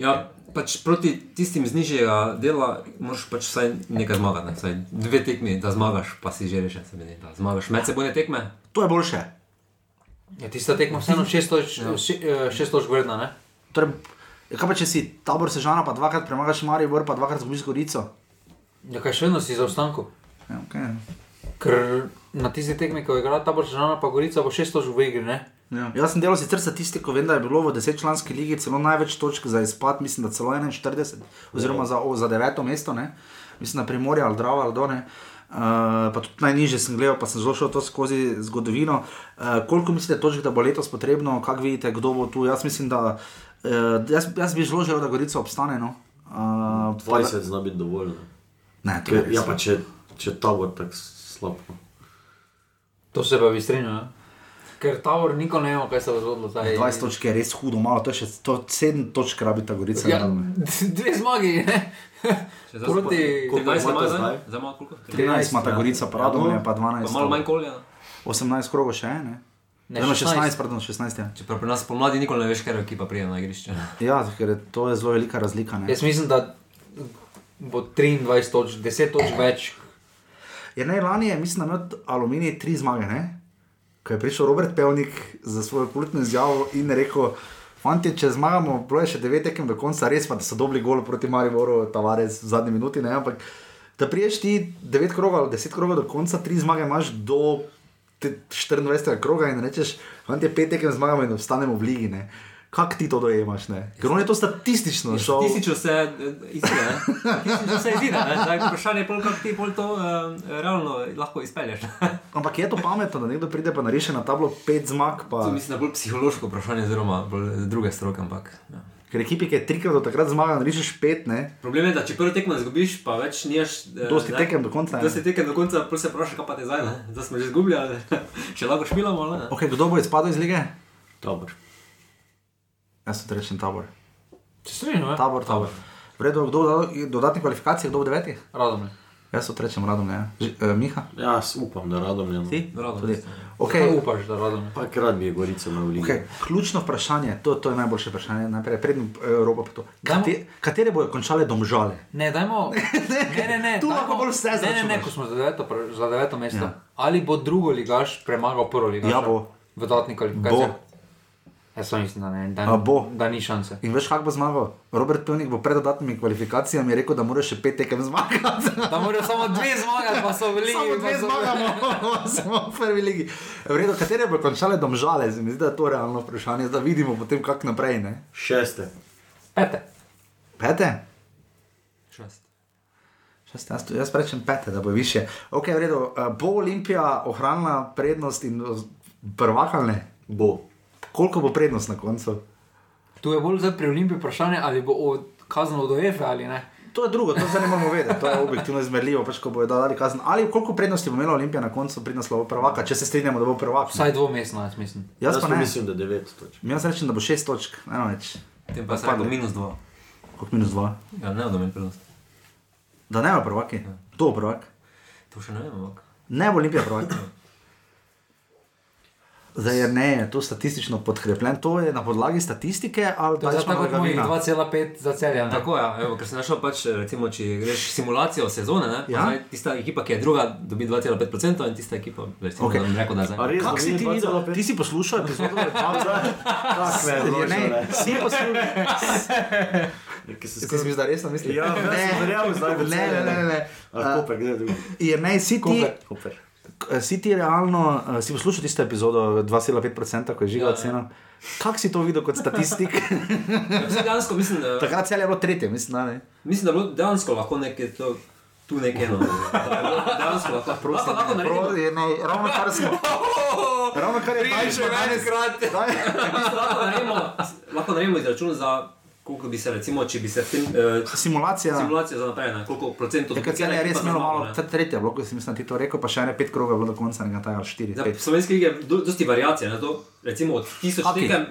Speaker 4: Ja, pač proti tistim z nižjega dela moraš pač vsaj nekaj zmagati, ne? vsaj dve tekmi, da zmagaš, pa si že rešen, se mi zdi, da zmagaš medsebojne tekme.
Speaker 1: To je boljše.
Speaker 3: Ja, tista tekma vseeno šest toč- še- eh, šest točk vredna, ne.
Speaker 1: Torej, ja, kaj pa če si Tabor sežana, pa dvakrat premagaš Maribor, pa dvakrat zgubiš Gorico.
Speaker 3: Ja, kaj še vedno si za obstanku.
Speaker 1: Ja, okay.
Speaker 3: Ker na tisti tekmi, ko je igral ta Boržana, pa Gorica bo šest točk v igri, ne.
Speaker 1: Ja. Jaz sem delal sicer statistiko, vem, da je bilo v desetčlanski ligi celo največ točk za izpad, mislim, da celo 41, oziroma za, o, za deveto mesto, ne? mislim, na primorje ali Drava ali Done. Uh, pa tudi najnižje sem gledal, pa sem zelo šel to skozi zgodovino. Uh, koliko mislite, točk, da bo letos potrebno, kako vidite, kdo bo tu? Jaz mislim, da uh, jaz, jaz bi zelo želel, da Gorica obstane. No? Uh, pa da-
Speaker 2: 20 zna biti dovolj. ne.
Speaker 1: Ne, to je
Speaker 2: Ker,
Speaker 1: res. no.
Speaker 2: ja, pa če, če tabor tako slab. no.
Speaker 3: To se pa bi strinjal, ne. Ker Tavor nikoli ne ve, kaj se bo zgodilo zdaj.
Speaker 1: 20 točk je res hudo, malo, to je še 7 točk, rabita Gorica.
Speaker 3: Ja,
Speaker 1: naravno.
Speaker 3: dve zmagi, ne.
Speaker 4: Še zdaj
Speaker 3: Proti...
Speaker 2: Koliko
Speaker 4: Koliko je
Speaker 2: imate
Speaker 4: zdaj?
Speaker 2: zdaj?
Speaker 4: Zdaj malo koliko?
Speaker 1: 13 ima ta Gorica, pa Radomlje, pa 12.
Speaker 4: Pa malo manj kolja.
Speaker 1: 18 krogov še ene. Ne,
Speaker 3: Ne,
Speaker 1: Zdaj, 16. 16,
Speaker 3: 16,
Speaker 1: pardon, 16. Ja.
Speaker 4: Čeprav pri nas pomladi nikoli ne veš, katera ekipa pride na igrišče.
Speaker 1: ja, ker je to je zelo velika razlika. ne.
Speaker 3: Mhm. Jaz mislim, da bo 23 točk, 10 točk več.
Speaker 1: Ja, ne, lani je, mislim, da je imel aluminij tri zmage, ne? Ko je prišel Robert Pevnik za svojo kultno izjavo in rekel, fanti, če zmagamo, bilo je še devet tekem do konca, res pa, da so dobili gol proti Mariboru, Tavares v zadnji minuti, ne? Ampak, da priješ ti devet krogov ali deset krogov do konca, tri zmage imaš do te- 24. kroga in rečeš, fanti, pet tekem zmagamo in ostanemo v ligi, ne? Kako ti to dojemaš, ne? Ker on je to statistično šel.
Speaker 4: Tisoč se eh, izide, ne? Tisoč se izide, ne? Zdaj vprašanje je, pol, kako ti pol to eh, realno lahko izpelješ.
Speaker 1: Ampak je to pametno, da nekdo pride pa nariše na tablo pet zmag.
Speaker 4: To
Speaker 1: Pa...
Speaker 4: mislim, da je bolj psihološko vprašanje, oziroma bolj druge stroke, ampak. Ja.
Speaker 1: Ker ekipi, ki je trikrat do takrat zmagal, rišeš pet, ne.
Speaker 4: Problem je, da če prvo tekmo izgubiš, pa več nimaš. eh,
Speaker 1: Dosti
Speaker 4: ne.
Speaker 1: tekem do konca, ne.
Speaker 4: Dosti tekem do konca, prvo se vprašaj, kaj pa te zdaj, ne? zdaj smo že izgubili, ali še lahko špilamo. ali Ne?
Speaker 1: Ok, kdo bo izpadel iz lige?
Speaker 2: Dobro.
Speaker 1: Jaz sem rečen tabor.
Speaker 3: Če se ne,
Speaker 1: Tabor, tabor. Vredo, kdo bo dodal- dodatne kvalifikacije, kdo bo deveti?
Speaker 3: Radom je.
Speaker 1: Jaz sem rečen radom, ne. Ž, uh, Miha?
Speaker 2: Ja, s- upam, da radom je.
Speaker 1: Ti?
Speaker 4: Radom,
Speaker 1: Tudi.
Speaker 4: jaz
Speaker 1: Ok,
Speaker 3: Kaj upaš, da radom je?
Speaker 2: Pa rad bi je Gorico imel v ligi.
Speaker 1: Okay, ključno vprašanje, to, to je najboljše vprašanje, najprej prednji eh, Evropa. pa to.
Speaker 3: Dajmo-
Speaker 1: Kate, katere bodo končale domžale?
Speaker 3: Ne, dajmo. Ne, ne, ne.
Speaker 1: Tu
Speaker 3: dajmo-
Speaker 1: lahko bolj vse
Speaker 3: Ne, ne, ne,
Speaker 1: zračunaš.
Speaker 3: ko smo za deveto, pre- za deveto
Speaker 1: Ja.
Speaker 3: mesto. Ja. Ali bo drugo ligaš premagal prvo ligaš?
Speaker 1: Ja, bo.
Speaker 3: V dodatni kvalifikaciji.
Speaker 1: Bo.
Speaker 3: Jaz sem mislim, da ne, da,
Speaker 1: A bo.
Speaker 3: da ni šanse.
Speaker 1: In veš, kako bo zmagal? Robert Pevnik bo pred dodatnimi kvalifikacijami rekel, da mora še pet tekem zmagati.
Speaker 3: Da morajo samo dve zmagati, pa so bili.
Speaker 1: Samo dve zmagamo, smo v prvi legi. Vredno, katere bodo končale domžale, se mi zdi, da je to realno vprašanje, da vidimo potem, kako naprej. Ne?
Speaker 2: Šeste.
Speaker 3: Pete.
Speaker 1: Pete?
Speaker 4: Šest.
Speaker 1: Šest, jaz, tu- jaz pa rečem pete, da bo više. Ok, v redu, eh, bo Olimpija ohranila prednost in prvakalne? Bo. Koliko bo prednost na koncu?
Speaker 3: Tu je bolj zdaj pri Olimpiji vprašanje, ali bo odkazano od UEFA ali ne.
Speaker 1: To je drugo, to zdaj ne moramo vedeti, to je objektivno izmerljivo, pač ko bodo dali kazen. Ali koliko prednosti bo imela Olimpija na koncu pri naslovu prvaka, če se strinjamo, da bo prvak?
Speaker 3: Vsaj dvomestno, jaz mislim.
Speaker 1: Jaz pa
Speaker 2: pa
Speaker 1: ne.
Speaker 2: mislim, da devet točk.
Speaker 1: Jaz rečem, da bo šest točk, eno več,
Speaker 4: Tem pa sem
Speaker 1: Odpadli.
Speaker 4: rekel minus dva.
Speaker 1: kot minus dva.
Speaker 4: Ja, ne, da meni prednost.
Speaker 1: Da ne bo prvaki, to bo prvak.
Speaker 4: To še ne vem, ampak.
Speaker 1: Ne bo Olimpija prvak. Zdaj, je ne, je to statistično podkrepljen, to je na podlagi statistike ali
Speaker 3: To
Speaker 1: pa
Speaker 3: je
Speaker 1: če
Speaker 3: zdaj tako
Speaker 1: imamo
Speaker 3: kot
Speaker 1: ga
Speaker 3: mojih
Speaker 1: vina.
Speaker 3: 2,5 za celje.
Speaker 4: Tako je, ja, evo, ker sem našel pač, recimo, če greš simulacijo sezone, ne,
Speaker 1: Ja.
Speaker 4: ja. zdaj, tista ekipa, ki je druga, dobi 2,5% in tista ekipa, recimo,
Speaker 1: Okej.
Speaker 4: okay. da bi rekel, da je
Speaker 2: A
Speaker 4: zdaj.
Speaker 2: res
Speaker 1: Kako si ti videl? Ti
Speaker 2: Ti
Speaker 1: si poslušal epizodo,
Speaker 2: si me
Speaker 1: da je ne, si poslušal. Jaz sem
Speaker 2: vložil.
Speaker 1: bil zdaj resno, mislim.
Speaker 2: Ja, jaz sem verjel, zdaj bo
Speaker 1: ne, ne,
Speaker 2: Celje,
Speaker 1: ne, ne.
Speaker 2: ne.
Speaker 1: ne.
Speaker 2: A Koper, gre drugo.
Speaker 1: Jrnej, si ti,
Speaker 2: Koper. Koper.
Speaker 1: k- si ti realno, eh, si poslušal tisto epizodo 2,5%, ko je žiga ja, cena. Kako si to videl kot statistik?
Speaker 4: Vse dejansko mislim, da
Speaker 1: Takrat cel je bilo tretje, mislim, da ne.
Speaker 4: Mislim, da je bilo dejansko lahko nekaj to, tu nekaj eno. Da je bilo Dejansko lahko, prosim, lahko naredimo.
Speaker 1: Prav, Jernej, Ravno kar smo. Ravno kar je bilo
Speaker 4: Prišel je večkrat. Mislim, Lahko naredimo, lahko naredimo izračun za koliko bi se recimo, če bi se tem, eh,
Speaker 1: Simulacija.
Speaker 4: simulacija za naprej, na koliko procentov
Speaker 1: Je,
Speaker 4: dobi
Speaker 1: ker cel je
Speaker 4: cela
Speaker 1: res
Speaker 4: ekipa za
Speaker 1: imel
Speaker 4: zmago,
Speaker 1: malo,
Speaker 4: ne.
Speaker 1: ta tretja blok, sem mislim, da ti to rekel, pa še ene pet krogov je bilo do konca, nekaj tajal, štiri,
Speaker 4: Za
Speaker 1: pet.
Speaker 4: slovenske lige je do- dosti variacij, ne, to, recimo od tisoč
Speaker 1: Hokej.
Speaker 4: tekem,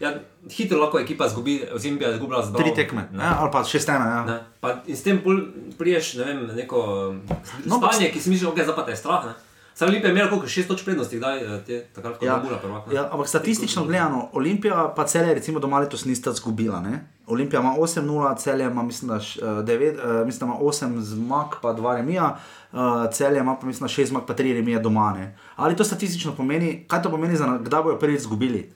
Speaker 4: ja, hitro lahko ekipa zgubi, oziroma je izgubila z
Speaker 1: Tri
Speaker 4: Bravo,
Speaker 1: tekme,
Speaker 4: ne.
Speaker 1: ja, ali pa šest ena. Ja.
Speaker 4: Ne, pa in s tem pol priješ ne vem, na neko
Speaker 1: No,
Speaker 4: no,
Speaker 1: pa
Speaker 4: stanje, ki si misliš, okay, zdaj pa te je strah. Ne? Sam Lipe je imel koliko šest točk prednosti, kdaj eh, te takrat, ko je bila prvaka.
Speaker 1: ja, ampak statistično gledano, Olimpija pa celje, recimo doma letos nista zgubila. Ne? Olimpija ima 8-0, celje ima, mislim, da, š- eh, devet, eh, mislim, da ima 8 zmag, pa 2 remija, uh, celje ima pa, mislim, 6 zmag, pa 3 remije doma. Ne? Ali to statistično pomeni, kaj to pomeni, za, na- kdaj bojo prvič zgubili?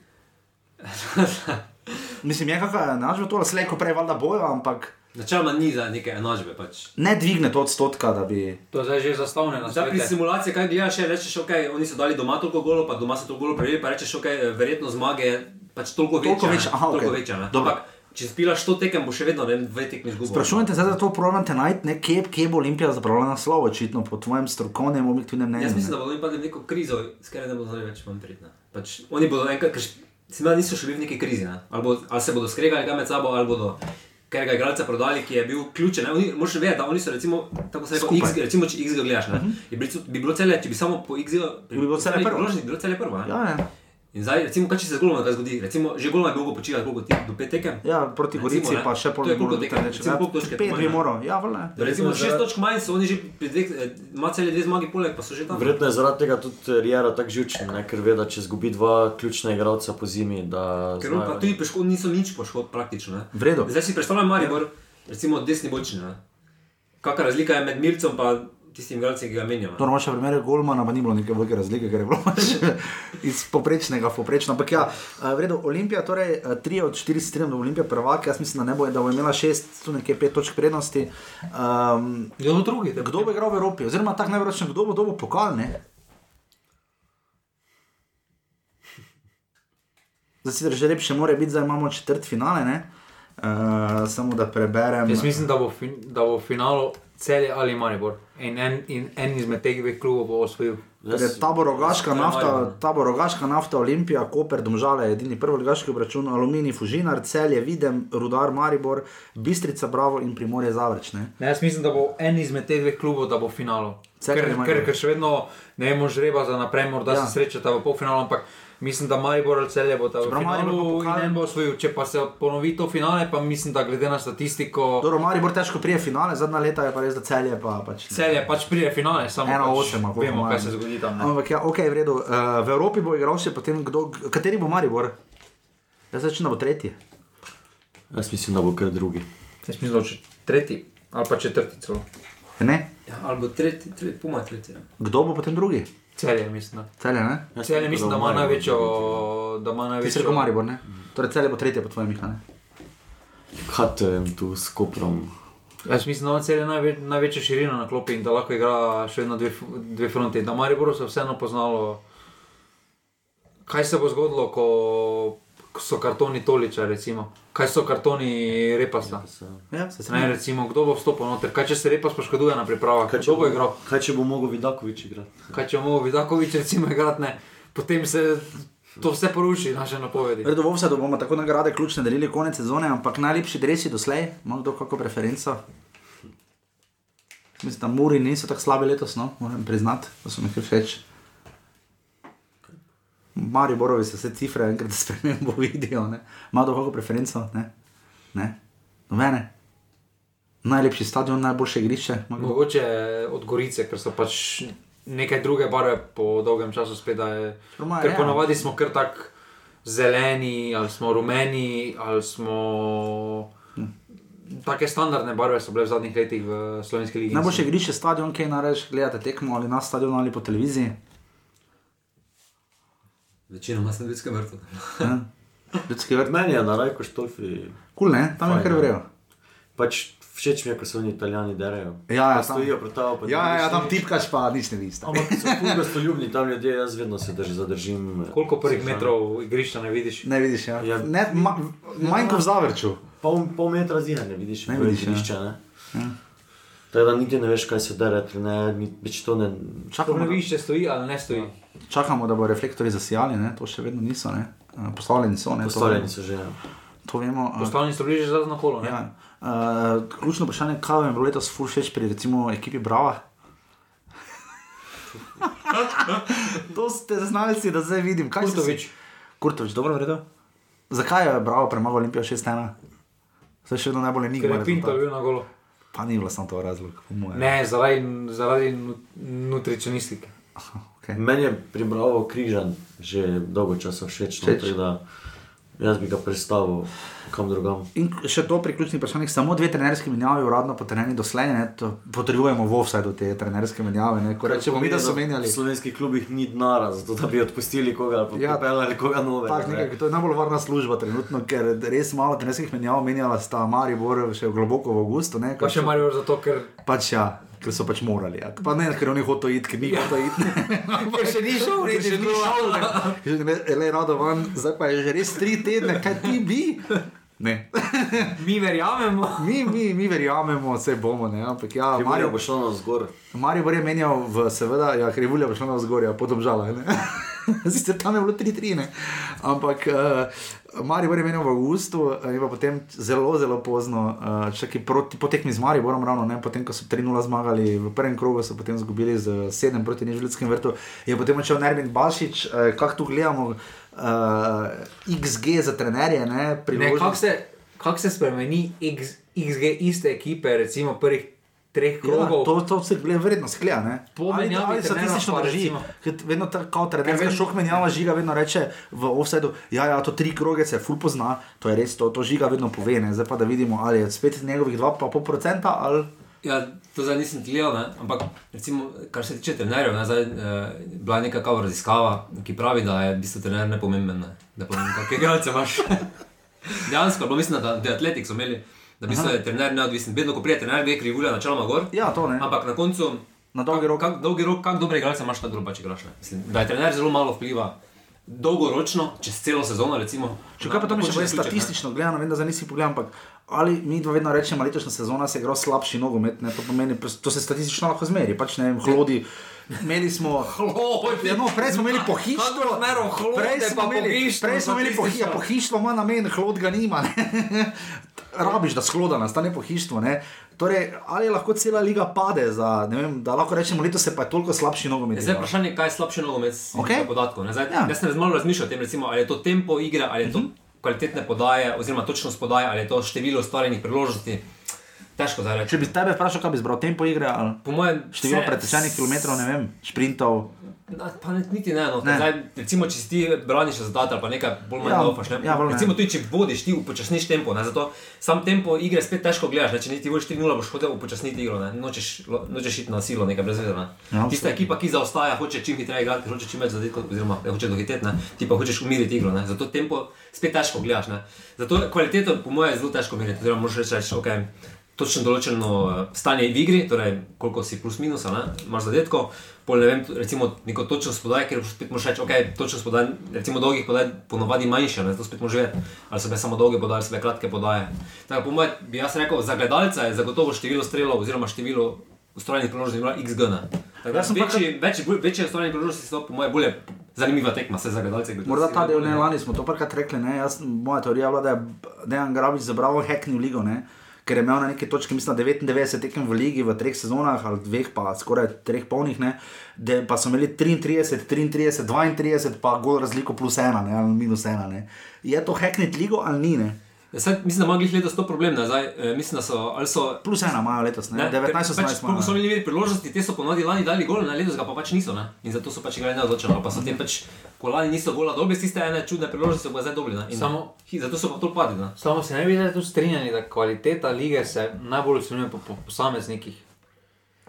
Speaker 1: Mislim, je kakšna enačba to, slejko prej valjda bojo, ampak
Speaker 4: Načeloma ni za neke enačbe. Pač.
Speaker 1: ne dvigne to odstotka, da bi.
Speaker 3: To je zdaj že zastavljeno.
Speaker 4: Zdaj pri simulaciji, kaj gledaš, je, rečeš, ok, oni so dali doma toliko golo, pa doma so toliko golo prejeli, pa rečeš, ok, verjetno zmage je pač toliko večja.
Speaker 1: Toliko večja,
Speaker 4: ne,
Speaker 1: aha,
Speaker 4: toliko
Speaker 1: okej.
Speaker 4: večja ne.
Speaker 1: Dobro.
Speaker 4: Ampak, če spilaš to tekem, bo še vedno ne vem, dve tekmi izgubil.
Speaker 1: Sprašujem te, zdaj, da to probate najti, ne, kje, kje bo Olimpija zapravila naslov, očitno po tvojem strokovnem, objektivnem mnenju.
Speaker 4: Jaz
Speaker 1: ne.
Speaker 4: mislim, da bodo oni padli v neko krizo, iz katere ne bodo znali več vam priti. ne. Pač, oni bodo enkrat, ker sima niso še bili v neki krizi, ne. ali, bo, ali se bodo skregali kaj med sabo, ali bodo katerega igralca prodali, ki je bil ključen. ne. Oni- Moraš vedeti, da oni so recimo, tako se reče,
Speaker 1: Skupaj. Mhm.
Speaker 4: X, recimo, če X gledaš, ne, je bilo- bi bilo celje, če bi samo po X gledal,
Speaker 1: Bi bilo Celje prvo.
Speaker 4: Bi bilo celje prvo. ne.
Speaker 1: Ja, ja.
Speaker 4: In zdaj, recimo, kaj če se z golom kaj zgodi, recimo, že golom je dolgo počival, koliko ti do pet tekem.
Speaker 1: Ja, proti
Speaker 4: Recimo,
Speaker 1: Gorici
Speaker 4: ne.
Speaker 1: pa še pol
Speaker 4: To je koliko
Speaker 1: moral biti
Speaker 4: tekem?
Speaker 1: več.
Speaker 4: Recimo, koliko točk je
Speaker 1: ja. Pet
Speaker 4: po
Speaker 1: bi
Speaker 4: mojem?
Speaker 1: moral, ja, vele.
Speaker 4: Recimo,
Speaker 2: Verjetno
Speaker 4: šest
Speaker 2: zaradi-
Speaker 4: točk manj so oni že, pri dveh, eh, ima celje dve zmagi poleg, pa so že tam.
Speaker 2: Verjetno je zaradi tega tudi Rijera tako živčen, ne? ker ve, da če izgubi dva ključna igralca po zimi, da
Speaker 4: Ker on pa tudi poškod, niso nič poškod praktično. ne.
Speaker 1: V redu.
Speaker 4: Zdaj si
Speaker 1: Ja.
Speaker 4: predstavljam Maribor, recimo desni bočni. ne. Kakšna razlika je med Mircem in tistim igralcem, ki ga menjamo?
Speaker 1: To moče primerjati Golmana, pa ni bilo neke velike razlike, ker je bilo pač iz poprečnega v poprečno. Ampak ja, eh, v redu, Olimpija, torej 3 od 4 strem do Olimpije prvaka, jaz mislim, da, ne bo, da bo imela 6, tu nekje 5 točk prednosti. Um,
Speaker 3: Kdo bo drugi? Da-
Speaker 1: kdo bo igral v Evropi, oziroma tako najverjetneje, kdo bo dobil pokal, ne? Zdaj si že rep, še mora biti, zdaj imamo četrt finale, ne? Uh, samo da preberem.
Speaker 3: Jaz mislim, da bo, fin, da bo v finalu celje ali Maribor. In en, in en izmed teh dveh klubov bo osvojil.
Speaker 1: Ker je tabor rogaška
Speaker 4: to je
Speaker 1: nafta,
Speaker 3: ja.
Speaker 4: malo.
Speaker 1: tabor rogaška nafta, Olimpija, Koper, Domžale, edini prvoligaški obračun, Aluminij, Fužinar, Celje, Videm, Rudar, Maribor, Bistrica, Bravo in Primorje Zavreč. Ne?
Speaker 3: Ne, jaz mislim, da bo en izmed teh dveh klubov, da bo v finalu.
Speaker 1: Celje
Speaker 3: Ker,
Speaker 1: ali Maribor?
Speaker 3: ker, ker še vedno ne moremo žreba za naprej, morda
Speaker 1: Ja.
Speaker 3: ja. se srečata v polfinalu, ampak mislim, da Maribor ali celje bo ta v
Speaker 1: Čeprav Maribor
Speaker 3: finalu
Speaker 1: bo
Speaker 3: in
Speaker 1: pokal-
Speaker 3: en bo osvojil. Če pa se ponovi to finale, pa mislim, da glede na statistiko,
Speaker 1: Dobro, Maribor težko prije finale, zadnja leta je pa res, da Celje pa pač. ne.
Speaker 3: celje pač pride finale, samo
Speaker 1: Ena
Speaker 3: pač
Speaker 1: osem, ali koliko
Speaker 3: vemo,
Speaker 1: ima,
Speaker 3: kaj
Speaker 1: ne.
Speaker 3: se zgodi tam. Ne?
Speaker 1: Ampak ja, ok, v redu. Uh, v Evropi bo igral še potem kdo, kateri bo Maribor? Jaz rečem, da bo tretji.
Speaker 2: Jaz mislim, da bo kar drugi.
Speaker 3: Jaz mislim, da bo če- tretji ali pa četrti celo.
Speaker 1: Ne?
Speaker 4: Ja, ali bo tretji, tretji, puma tretji. ja.
Speaker 1: Kdo bo potem drugi?
Speaker 3: Celje mislim. da.
Speaker 1: Celje, ne?
Speaker 2: Jaz
Speaker 3: Celje mislim, da ima
Speaker 2: Maribor
Speaker 3: največjo.
Speaker 2: drugi.
Speaker 3: Da ima
Speaker 1: Ti si
Speaker 3: največjo.
Speaker 1: rekel Maribor, ne? Torej celje bo tretje po tvojem mihane.
Speaker 2: Hatem tu s Koprom.
Speaker 3: Jaz mislim, da ima celje najve, največjo širino na klopi in da lahko igra še vedno dve, f- dve fronti. Da Mariboru se je vseeno poznalo, kaj se bo zgodilo, ko ko so kartoni Toliča, recimo. kaj so kartoni Repasa.
Speaker 1: Ja, se
Speaker 3: Ne, recimo, kdo bo vstopil noter, kaj če se Repas poškoduje na pripravah, kaj če bo igral,
Speaker 2: Kaj če bo mogel Vidakovič igrati?
Speaker 3: kaj če bo Vidakovič recimo igrati, ne. potem se to vse poruši, naše napovedi.
Speaker 1: Redo bo vse, da bomo tako nagrade ključne delili konec sezone, ampak najlepši dresi doslej, malo kdo kako preferenco. Mislim, da Muri niso tako slabi letos, no, moram priznati, da so mi kar všeč. Mari Borovi se vse cifre enkrat spremembo vidijo, ne. Ima kdo kako preferenco, ne. Ne. Nobene. Najlepši stadion, najboljše igrišče. Ima kdo?
Speaker 3: Mogoče od Gorice, ker so pač nekaj druge barve po dolgem času spet. da Je,
Speaker 1: Normalno,
Speaker 3: ker
Speaker 1: ja.
Speaker 3: ponavadi smo kar tako zeleni, ali smo rumeni, ali smo.
Speaker 1: Hm.
Speaker 3: Take standardne barve so bile v zadnjih letih v slovenski ligi.
Speaker 1: Najboljše igrišče stadion, kje nareš, gledate tekmo ali na stadionu ali po televiziji.
Speaker 4: Večinoma sem ljudske mrtve.
Speaker 1: Ja. Ljudski vrt.
Speaker 2: Meni je na Rajko Štolfi.
Speaker 1: Kul, ne, tam je
Speaker 2: Fajn,
Speaker 1: kar
Speaker 2: ja.
Speaker 1: vrelo.
Speaker 2: Pač všeč mi je, ko se oni italijani derajo.
Speaker 1: Ja, ja, tam.
Speaker 2: Pa stojijo pred tabo. pa
Speaker 1: Ja,
Speaker 2: ne
Speaker 1: ja, ja,
Speaker 2: vidiš
Speaker 1: tam
Speaker 2: nič.
Speaker 1: tipkaš, pa nič ne vidiš.
Speaker 2: Ampak so ful gostoljubni tam ljudje, jaz vedno se drž, zadržim. eh,
Speaker 3: Koliko prvih
Speaker 2: slušam.
Speaker 3: metrov igrišča ne vidiš?
Speaker 1: Ne vidiš, ja.
Speaker 2: Ja.
Speaker 1: Ne, ma, manj kot v zavrču.
Speaker 2: Pol, pol metra zira ne vidiš,
Speaker 1: Ne
Speaker 2: ne
Speaker 1: vidiš,
Speaker 2: vidiš
Speaker 1: ja.
Speaker 2: nišče. Ne? Tako da niti ne veš, kaj se dera, ne, ni- več to ne.
Speaker 3: Kako
Speaker 1: Čakamo,
Speaker 3: ne
Speaker 1: da,
Speaker 3: vidiš, če stoji ali ne
Speaker 1: Ja.
Speaker 3: stoji.
Speaker 1: čakamo, da bo reflektori zasijali, ne? to še vedno niso. Ne? Eh, Postavljeni so, ne? to-
Speaker 2: Postavljeni so že. ja.
Speaker 1: To vemo. eh,
Speaker 3: Postavljeni so bliže zadnjo kolo. ne?
Speaker 1: Ja. Uh, ključno vprašanje, kaj vam je bilo letos ful všeč pri recimo ekipi Brava? to ste znali, si, da zdaj vidim. Kaj ste
Speaker 3: Kurtovič.
Speaker 1: si- Kurtovič, dobro vredno. Zakaj je Bravo premagal Olimpijo 6-1? Zdaj še vedno najbolj
Speaker 3: Ker je Pinto
Speaker 1: enigma.
Speaker 3: bil na golo.
Speaker 1: Pa ni bilo samo to razlog, po mojem.
Speaker 3: Ne, zaradi, zaradi nu- nutricionistike.
Speaker 1: Aha, okay.
Speaker 2: Meni je pribral križan že dolgo časa všeč, no,
Speaker 1: Všeč.
Speaker 2: tako da jaz bi ga predstavil kam drugam.
Speaker 1: In k- še to pri ključnih vprašanjih, samo dve trenerski menjavi, uradno potrjeni doslej, ne, to potrebujemo v vsaj do te trenerske menjave. Ne, ko rečemo, Torej, mi da so menjali.
Speaker 2: V slovenskih klubih ni denara, zato da bi odpustili koga ali pa
Speaker 1: Ja.
Speaker 2: ja, peljali koga novega.
Speaker 1: Tak,
Speaker 2: ne.
Speaker 1: pač nekaj, to je najbolj varna služba trenutno, ker res malo trenerskih menjav menjala sta Maribor še globoko v avgustu. Ne,
Speaker 3: Pa
Speaker 1: ker
Speaker 3: še
Speaker 1: so-
Speaker 3: Marijo zato, ker,
Speaker 1: Pač ja, ker so pač morali. Ja. Pa ne, ker oni hoto iti, ker ni hoto iti.
Speaker 3: ker še ni šel,
Speaker 1: Ker še ni šel, ne. Ker Že ne, le rado van, zdaj pa je že res tri tedne, kaj ti bi? Ne.
Speaker 3: Mi verjamemo.
Speaker 1: Mi, mi, mi verjamemo, vse bomo, ne? ampak ja,
Speaker 2: Marijo
Speaker 1: Maribor,
Speaker 2: bo šlo na zgor.
Speaker 1: Maribor je menjal, v, seveda, ja, ker je Vulja prišla na vzgorja, podomžala. ne. Sicer tam je bilo 3-3, ne. ampak uh, Maribor je menjal v Augustu eh, in pa potem zelo, zelo pozno, uh, še ki proti potekmi z Mariborom, ravno ne, potem ko so 3-0 zmagali v prvem krogu, so potem izgubili z 7 proti Nežljudskem vrtu, je potem odšel Nermin Bašič, uh, kako tu gledamo. Uh, XG za trenerje, ne,
Speaker 3: Ne,
Speaker 1: priložnost-
Speaker 3: Kako se, kak se spremeni X, XG iste ekipe, recimo prvih treh
Speaker 1: Ja,
Speaker 3: krogov?
Speaker 1: to, to se gleda verjetno sklea. ne?
Speaker 3: Po
Speaker 1: Ali-
Speaker 3: menjavi
Speaker 1: ali
Speaker 3: trenerja
Speaker 1: Statistično
Speaker 3: pa
Speaker 1: drži.
Speaker 3: recimo.
Speaker 1: Ker Vedno tako trenerja,
Speaker 3: Ker vem-
Speaker 1: šok menjava žiga, vedno reče v offsetu, ja, ja, to tri kroge se ful pozna, to je res, to, to žiga vedno pove, ne? zdaj pa da vidimo, ali je spet njegovih 2,5% ali...
Speaker 4: Ja, to zdaj nisem gledal, ne? ampak recimo, kar se tiče trenerjev, ne, zdaj, eh, bila je neka kao raziskava, ki pravi, da je v bistvu trener nepomemben, ne? da pomeni, kakšne igralce imaš. Dejansko, bilo mislim, da The Athletic so imeli, da v bistvu je trener neodvisen. Vedno, ko pride trener, gre krivulja načeloma gor,
Speaker 1: Ja, to ne.
Speaker 4: ampak na koncu,
Speaker 1: Na dolgi
Speaker 4: kak-
Speaker 1: rok.
Speaker 4: Kak, dolgi rok, kako dobre igralce imaš, tako dobro pač igraš. ne. Mislim, da je trener zelo malo vpliva. Dolgoročno, čez celo sezono, recimo.
Speaker 1: Če kaj pa to
Speaker 4: na
Speaker 1: mi še
Speaker 4: končni
Speaker 1: pove
Speaker 4: zaključek, ne.
Speaker 1: statistično gledano, vem, da zdaj nisi pogledal, ampak ali mi dva vedno rečemo, letošnja sezona se je igral slabši nogomet, ne? to pomeni, pres- to se statistično lahko zmeri, pač ne vem, hlodi. Imeli smo.
Speaker 3: Hlodi.
Speaker 1: Ja, no, prej smo imeli pohištvo,
Speaker 3: Kakor zmerom hlode,
Speaker 1: prej smo
Speaker 3: pa
Speaker 1: imeli,
Speaker 3: pohištvo
Speaker 1: prej smo imeli pohi,
Speaker 3: statistično.
Speaker 1: ja, pohištvo, ima namen, hlod ga nima. ne. Rabiš, da skloda nastane pohištvo. Ne? Torej, ali lahko cela liga pade, za, ne vem, da lahko rečemo, letos se pa je toliko slabši nogomet.
Speaker 4: Je E, Zdaj je
Speaker 1: igral.
Speaker 4: vprašanje, kaj je slabše nogomet z
Speaker 1: Ok.
Speaker 4: okay. podatkov. ne. Zdaj,
Speaker 1: Ja. Mhm.
Speaker 4: ja. Jaz sem malo razmišljal o tem, recimo, ali je to tempo igre, ali je to kvalitetne podaje, oziroma točnost podaje, ali je to število ustvarjenih priložnosti. Težko zdaj
Speaker 1: Če
Speaker 4: rečem.
Speaker 1: bi tebe vprašal, kaj bi izbral tempo igre, ali
Speaker 4: Po mojem,
Speaker 1: število
Speaker 4: se-
Speaker 1: pretečenih kilometrov, ne vem, sprintov.
Speaker 4: Na- Pa ne, niti ne, no.
Speaker 1: Ne.
Speaker 4: ne. Zdaj, recimo, če si ti braniš rezultat ali pa nekaj bolj
Speaker 1: Ja,
Speaker 4: malo laufaš. ne.
Speaker 1: ja, bolj ne.
Speaker 4: recimo, tudi če vodiš, ti upočasniš tempo. Ne? Zato sam tempo igre spet težko gledaš. Ne? Če niti vodiš 3-0, boš hotel upočasniti igro. Ne? Nočeš, lo- nočeš iti na silo, nekaj brez vedra.
Speaker 1: Ja,
Speaker 4: Ja, Tista ekipa, ki zaostaja, hoče čim hitreje igrati, ker hoče čim več zadetkov, oziroma eh, hoče dohiteti, ne? ti pa hočeš umiriti igro. Ne? Zato tempo spet težko gledaš. Ne? Zato kvaliteto, po mojem, je zelo težko meriti. Oziroma, moraš reči, reči, okay, točno določeno eh, stanje v igri, torej koliko si plus minus, a ne, imaš zadetkov, pol ne vem, t- recimo neko točno spodaj, ker spet moraš reči, ok, točno spodaj, recimo dolgih podaj ponovadi manjše, ne, to spet moraš vedeti, ali so bile samo dolge podaje, ali so bile kratke podaje. Tako da po mojem bi jaz rekel, za gledalca je zagotovo število strelov oziroma število ustvarjenih priložnosti bila XG. ne. Tako da
Speaker 1: Ja, Jaz sem pa
Speaker 4: večji, več, večje ustvarjene priložnosti so po mojem bolje zanimiva tekma, se za gledalce. kot
Speaker 1: Morda
Speaker 4: si
Speaker 1: ta del
Speaker 4: bolje-
Speaker 1: ne lani smo to parkrat rekli. Ne? Jaz, moja teorija je bila, da je Dejan Grabič zabral heknil ligo, ne? ker je imel na neki točki, mislim, da 99 tekem v ligi v treh sezonah ali dveh, pa skoraj treh polnih, ne? De, pa so imeli 33, 33, 32, pa gol razliko plus ena ne? ali minus ena. Ne? Je to heknit ligo ali ni? Ne?
Speaker 4: Ja, Saj, mislim, da ima glih letos to problem, ne, zdaj, eh, mislim, da so ali so
Speaker 1: Plus ena imajo letos, ne?
Speaker 4: ker
Speaker 1: 19,
Speaker 4: Pač,
Speaker 1: 18
Speaker 4: koliko so
Speaker 1: imajo. ne.
Speaker 4: imeli priložnosti, te so ponovadi lani dali gol, na letos ga pa pač niso. Ne? In zato so pač igrali neodločeno. ali Pa so tem pač, ko lani niso gola dobili, s tiste ene čudne priložnosti so pa zdaj dobili. ne. In
Speaker 3: Samo-
Speaker 4: hi- zato so pa to padli. Ne?
Speaker 3: Samo se ne bi zdaj tu strinjali, da kvaliteta lige se najbolj ocenjuje po po posameznikih.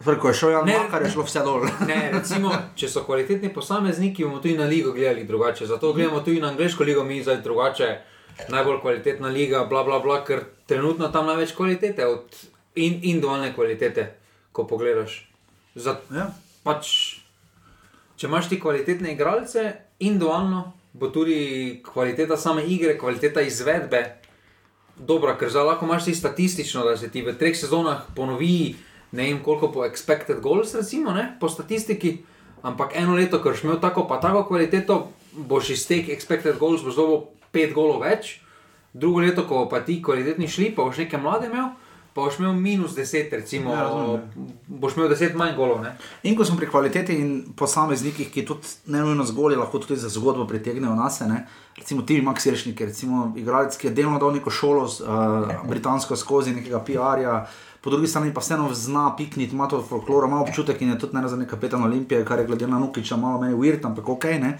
Speaker 1: Torej, Ko je šel Jan
Speaker 3: Ne.
Speaker 1: Makar, je šlo vse dol.
Speaker 3: Ne, recimo, če so kvalitetni posamezniki, bomo tudi na ligo gledali drugače. Zato gledamo tudi na angliško ligo, mi zdaj drugače, najbolj kvalitetna liga, bla, bla, bla, ker trenutno tam največ kvalitete od in, individualne kvalitete, ko pogledaš. Zato,
Speaker 1: Ja.
Speaker 3: pač, če imaš ti kvalitetne igralce, individualno bo tudi kvaliteta same igre, kvaliteta izvedbe dobra, ker zdaj lahko imaš ti statistično, da se ti v treh sezonah ponovi ne vem koliko po expected goals, recimo, ne, po statistiki, ampak eno leto, ker si imel tako pa tako kvaliteto, boš iz teh expected goals boš dobil pet golov več, drugo leto, ko bo pa ti kvalitetni šli, pa boš neke mlade imel. Pa boš imel minus 10, recimo,
Speaker 1: Ja, razumem,
Speaker 3: boš imel 10 manj golov. Ne?
Speaker 1: In ko smo pri kvaliteti in posameznikih, ki tudi ne nujno zgolj, lahko tudi za zgodbo pritegnejo nas, recimo Tim Maxiršnik, recimo igralec, ki je delno dal neko šolo, uh, britansko skozi nekega PR-ja, po drugi strani pa vseeno zna pikniti, ima to folkloro, ima občutek in je tudi ne za nekaj kapetan Olimpije, kar je glede na Nukiča malo meni weird, ampak ok. Ne?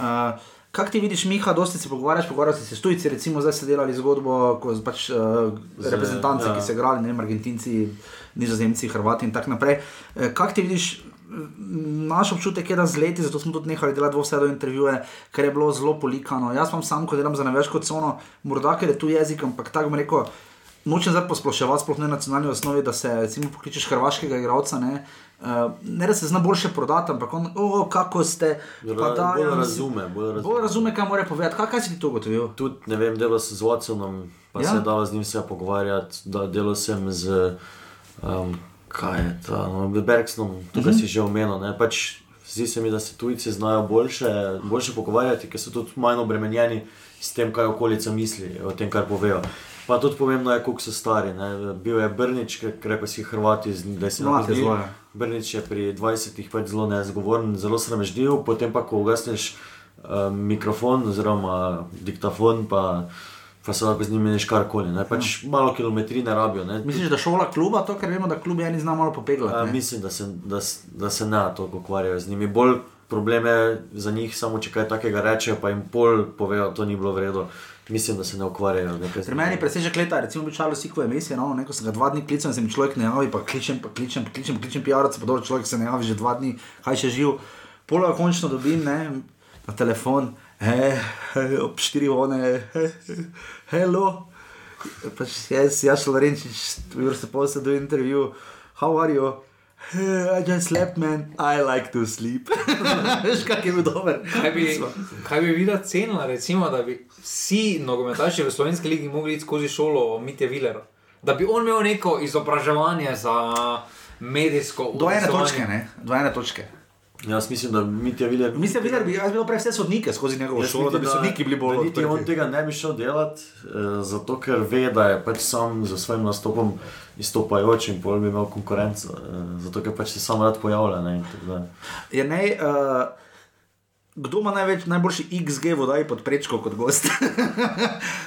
Speaker 1: Uh, Kaj ti vidiš, Miha, dosti se pogovarjaš, pogovarjaš se s tujci, recimo zdaj ste delali zgodbo, ko z- pač uh, reprezentance,
Speaker 2: ja.
Speaker 1: ja. ki se igrali, ne vem, Argentinci, Nizozemci, Hrvati in tako naprej. Eh, Kaj ti vidiš? m, Naš občutek je, da z leti, zato smo tudi nehali delati vse do intervjuje, ker je bilo zelo polikano. Jaz vam sam, ko delam za neveško cono, morda ker je tu jezik, ampak tako bom rekel. Nočem zdaj posploševati, sploh ne na nacionalni osnovi, da se recimo pokličeš hrvaškega igralca. Ne, uh, ne da se zna boljše prodati, ampak on, o, oh, kako ste.
Speaker 2: Ra- bolj
Speaker 1: mislim,
Speaker 2: razume, bolj razume.
Speaker 1: Bolj razume, kaj mora povedati. Kaj, kaj si ti to ugotovil?
Speaker 2: Tudi, ne vem, delal sem z Watsonom, pa
Speaker 1: Ja.
Speaker 2: ja. se je dalo z njim vse pogovarjati, da delal sem z, um, kaj je ta, no, Bergsonom, tukaj si že omenil. ne, Pač, zdi se mi, da se tujci znajo boljše, boljše pogovarjati, ker so tudi manj obremenjeni s tem, kaj okolica misli, o tem, kar povejo. Pa tudi pomembno je, koliko so stari. Ne. Bil je Brnič, ki reče si Hrvati, z- da si
Speaker 1: Mlad je
Speaker 2: napozdi.
Speaker 1: zelo, ja.
Speaker 2: Brnič je pri 20-ih pač zelo nezgovoren, zelo sramežljiv, potem pa, ko ugasneš uh, mikrofon oziroma diktafon, pa, pa se lahko z njimi neš karkoli. Ne? Pač ja. malo kilometrine rabijo. Ne?
Speaker 1: Misliš, da šola kluba to, ker vemo, da klub je eni zna malo
Speaker 2: A,
Speaker 1: popeglati. ne?
Speaker 2: mislim, da se, da, s- da se ne toliko ukvarjajo z njimi. Bolj probleme za njih, samo če kaj takega rečejo, pa jim pol povejo, to ni bilo vredno. Mislim, da se ne ukvarjajo. nekaj z
Speaker 1: Pri meni
Speaker 2: njimi.
Speaker 1: je presežek leta, recimo bi čalo si, ko je mesec, no, neko sem ga dva dni klical in se mi človek ne javi, pa kličem, pa kličem, pa kličem, pa kličem PR-ovce, pa dobro, človek se ne javi že dva dni, kaj še živ. Polo končno dobim, ne, na telefon, he, he, ob štiri one, he, he, hello. Pač jaz, jaz šel Renčič, we were supposed to do interview, how are you? "Eh, I just slept, man. I like to sleep. Veš, kak je bil dober.
Speaker 3: Kaj bi, kaj bi videla cenila, recimo, da bi vsi nogometaši v slovenski ligi mogli iti skozi šolo Mitja Vilera? Da bi on imel neko izobraževanje za medijsko
Speaker 1: Do ene
Speaker 3: udejstvovanje.
Speaker 1: točke, ne, do ene točke.
Speaker 2: Jaz mislim, da mi te videli.
Speaker 1: Mislim, da bi jaz bil prej vse sodnike skozi njegovo šolo, da bi sodniki bili bolj
Speaker 2: Niti on
Speaker 1: odprti.
Speaker 2: tega ne bi šel delati, eh, zato ker ve, da je pač sam z svojim nastopom izstopajoč in pol bi imel konkurenco, eh, zato ker pač se sam rad pojavlja. Ne, in tako dalje.
Speaker 1: Je naj, uh, kdo ima največ, najboljši XG vodaj pod prečko kot gost?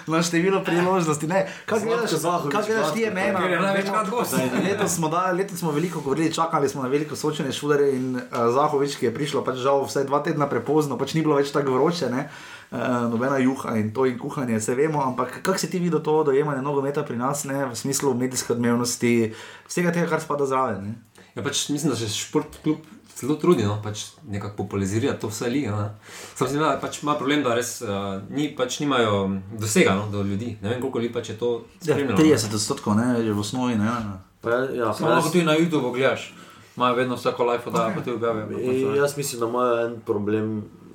Speaker 1: Na število priložnosti. Ne. Kaj
Speaker 2: Zlatko
Speaker 1: gledaš,
Speaker 2: Zahovič,
Speaker 1: kaj gledaš ti je
Speaker 2: Zlatko,
Speaker 1: mena?
Speaker 3: ker je največkrat gost.
Speaker 1: Letos smo, da, letos smo veliko govorili, čakali smo na veliko soočenje Šudere in uh, Zahovič, ki je prišla pač žal vsaj dva tedna prepozno, pač ni bilo več tako vroče. Ne? Uh, nobena juha in to in kuhanje, se vemo, ampak kako si ti videl to dojemanje nogometa pri nas, ne, v smislu medijske odmevnosti, vsega tega, kar spada zraven? Ne?
Speaker 4: Ja, pač mislim, da se šport kljub zelo trudi, no, pač nekako popularizira to vse lige. No. Sam sem videl, da pač ima problem, da res uh, ni, pač nimajo dosega no, do ljudi. Ne vem, koliko ljudi pač je to
Speaker 1: Ja,
Speaker 4: spremljalo.
Speaker 1: 30 odstotkov, ne, že v osnovi. Ne, ne.
Speaker 2: Pa, ja, pa
Speaker 3: Samo
Speaker 2: jaz,
Speaker 3: lahko tudi na YouTubu gledaš, imajo vedno vsako live oddajo, pa ti objavijo.
Speaker 2: in jaz mislim, da imajo en problem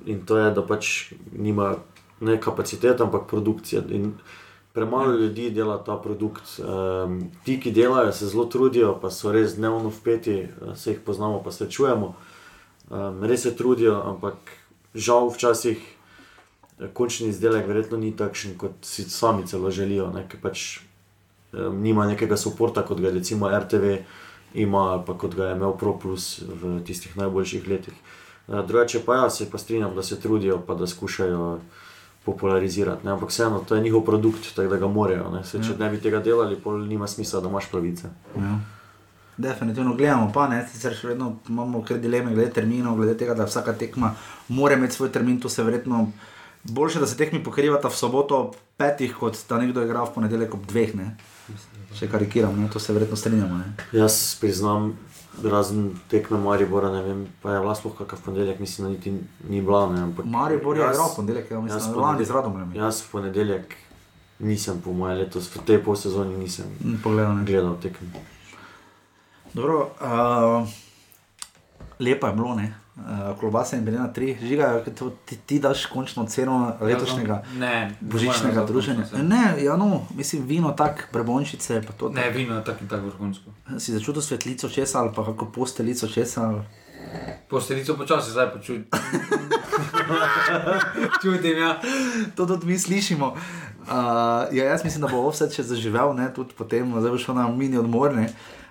Speaker 2: in to je, da pač nima ne kapacitet, ampak produkcije. In premalo ljudi dela ta produkt. Um, ti, ki delajo, se zelo trudijo, pa so res dnevno vpeti, eh, se jih poznamo, pa srečujemo. Um, res se trudijo, ampak žal včasih eh, končni izdelek verjetno ni takšen, kot si sami celo želijo. Ne? ker Pač, um, nima nekega podpora, kot ga recimo RTV ima, ali pa kot ga je imel ProPlus v tistih najboljših letih. Eh, Drugače pa ja, se pa strinjam, da se trudijo, pa da skušajo popularizirati. Ne? Ampak vseeno, to je njihov produkt, tako da ga morajo. ne. Saj, Če ne bi tega delali, pol nima smisla, da imaš pravice.
Speaker 1: Ja. Definitivno gledamo, pa ne, sicer še vedno imamo kar dileme glede terminov, glede tega, da vsaka tekma mora imeti svoj termin, to se verjetno. Boljše, da se tekmi pokrivata v soboto ob petih, kot da nekdo igra v ponedeljek ob dveh. Ne? Če karikiram, ne? to se verjetno strinjamo. Ne?
Speaker 2: Jaz priznam, razen tekme Maribora, ne vem, pa je vlast lahko kakav ponedeljek, mislim, da niti ni bila. Ne? Ampak
Speaker 1: Marijo Bor je
Speaker 2: jaz-
Speaker 1: igral v ponedeljek, ja,
Speaker 2: jaz
Speaker 1: mislim,
Speaker 2: v
Speaker 1: lani
Speaker 2: ponedeljek-
Speaker 1: z radom.
Speaker 2: Jaz v ponedeljek nisem, po mojem, letos v tej pol sezoni nisem
Speaker 1: Pogledal, ne.
Speaker 2: gledal tekem.
Speaker 1: Dobro, uh, lepa je bilo, ne. Uh, Klobasa in Benina 3, žiga, to ti, ti daš končno ceno letošnjega.
Speaker 3: Ja, Ne,
Speaker 1: Božičnega
Speaker 3: moram,
Speaker 1: druženja.
Speaker 3: zakončno se-
Speaker 1: Ne, ja, no, mislim, vino tako, prebončice. Pa to,
Speaker 3: Ne, vino je tako in tako vrhunsko.
Speaker 1: tak. Si začutil svetlico česa ali pa kako posteljico česa. ali-
Speaker 3: Posteljico počasi zdaj počutim. Čutim, ja.
Speaker 1: To tudi mi slišimo. Uh, ja, jaz mislim, da bo offset še zaživel, ne, tudi potem, zdaj bo šel na mini odmor, ne,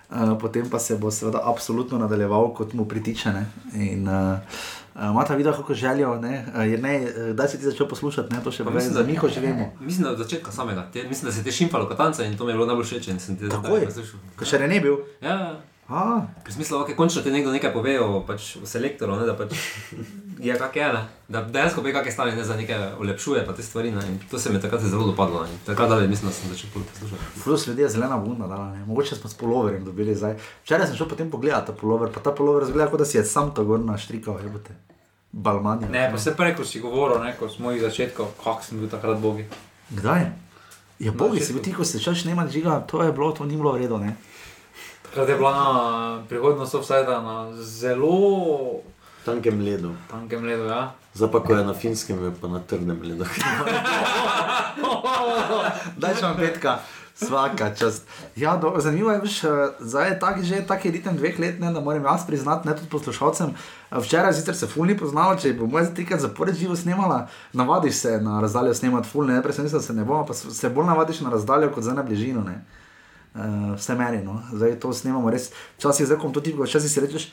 Speaker 1: uh, potem pa se bo seveda absolutno nadaljeval, kot mu pritiče. Ne, in, uh, uh, Mata videl, kako želijo, ne, uh, je ne, eh, kdaj si ti začel poslušati, ne, to še
Speaker 4: Pa
Speaker 1: prej,
Speaker 4: mislim,
Speaker 1: za
Speaker 4: da-
Speaker 1: Miho že vemo.
Speaker 4: Mislim, da od začetka samega, te, mislim, da se ti šimpalo katanca in to mi je bilo najbolj všeč. in sem te
Speaker 1: Tako je,
Speaker 4: zdaj poslušal.
Speaker 1: ko še ne bil.
Speaker 4: Ja, Ja,
Speaker 1: Ah,
Speaker 4: ker sem mislil, da okay, končno ti nekdo nekaj pove o, pač, o selektorju, ne, da pač je kak je, ne, da dejansko ve, kakšne stanje ne, za nekaj olepšuje, pa te stvari. Ne, in to se mi je takrat zelo dopadlo. ne, in Takrat dalje mislim, da sem začel ful poslušati.
Speaker 1: Plus ljudi je zelena bunda, dala, ne. mogoče smo s poloverjem dobili zdaj. Včeraj sem šel potem pogledat ta polover, pa ta polover zgleda, kot da si je sam to gor naštrikal, je bote. Balmanje.
Speaker 3: Ne, pa se prej, ko si govoril, ne, ko smo jih začetkal, kak sem bil takrat bogi.
Speaker 1: Kdaj? Ja, bogi si
Speaker 3: začetku.
Speaker 1: bil ti, ko si začel snemati žiga, to je bilo, to ni bilo v redu, ne.
Speaker 3: Takrat je bila a, prihodnost offsajda na zelo
Speaker 2: Tankem ledu.
Speaker 3: tankem ledu, ja.
Speaker 2: Zdaj pa, ko je na finskem, je pa na trdem ledu.
Speaker 1: Daj še vam petka. Vsaka čast. Ja, do, zanimivo je, veš, eh, zdaj je tak, že taki ritem dveh let, ne, da moram jaz priznati, ne tudi poslušalcem. Eh, Včeraj sicer se fulni poznala, če bo moja trikrat zapored živo snemala, navadiš se na razdaljo snemati fulni, ne, prej sem mislil, da se ne bomo, pa s- se bolj navadiš na razdaljo kot za na bližino. Ne. Uh, vse meni, no. zdaj to snemamo res. Včasih je zelo tudi, včasih si rečeš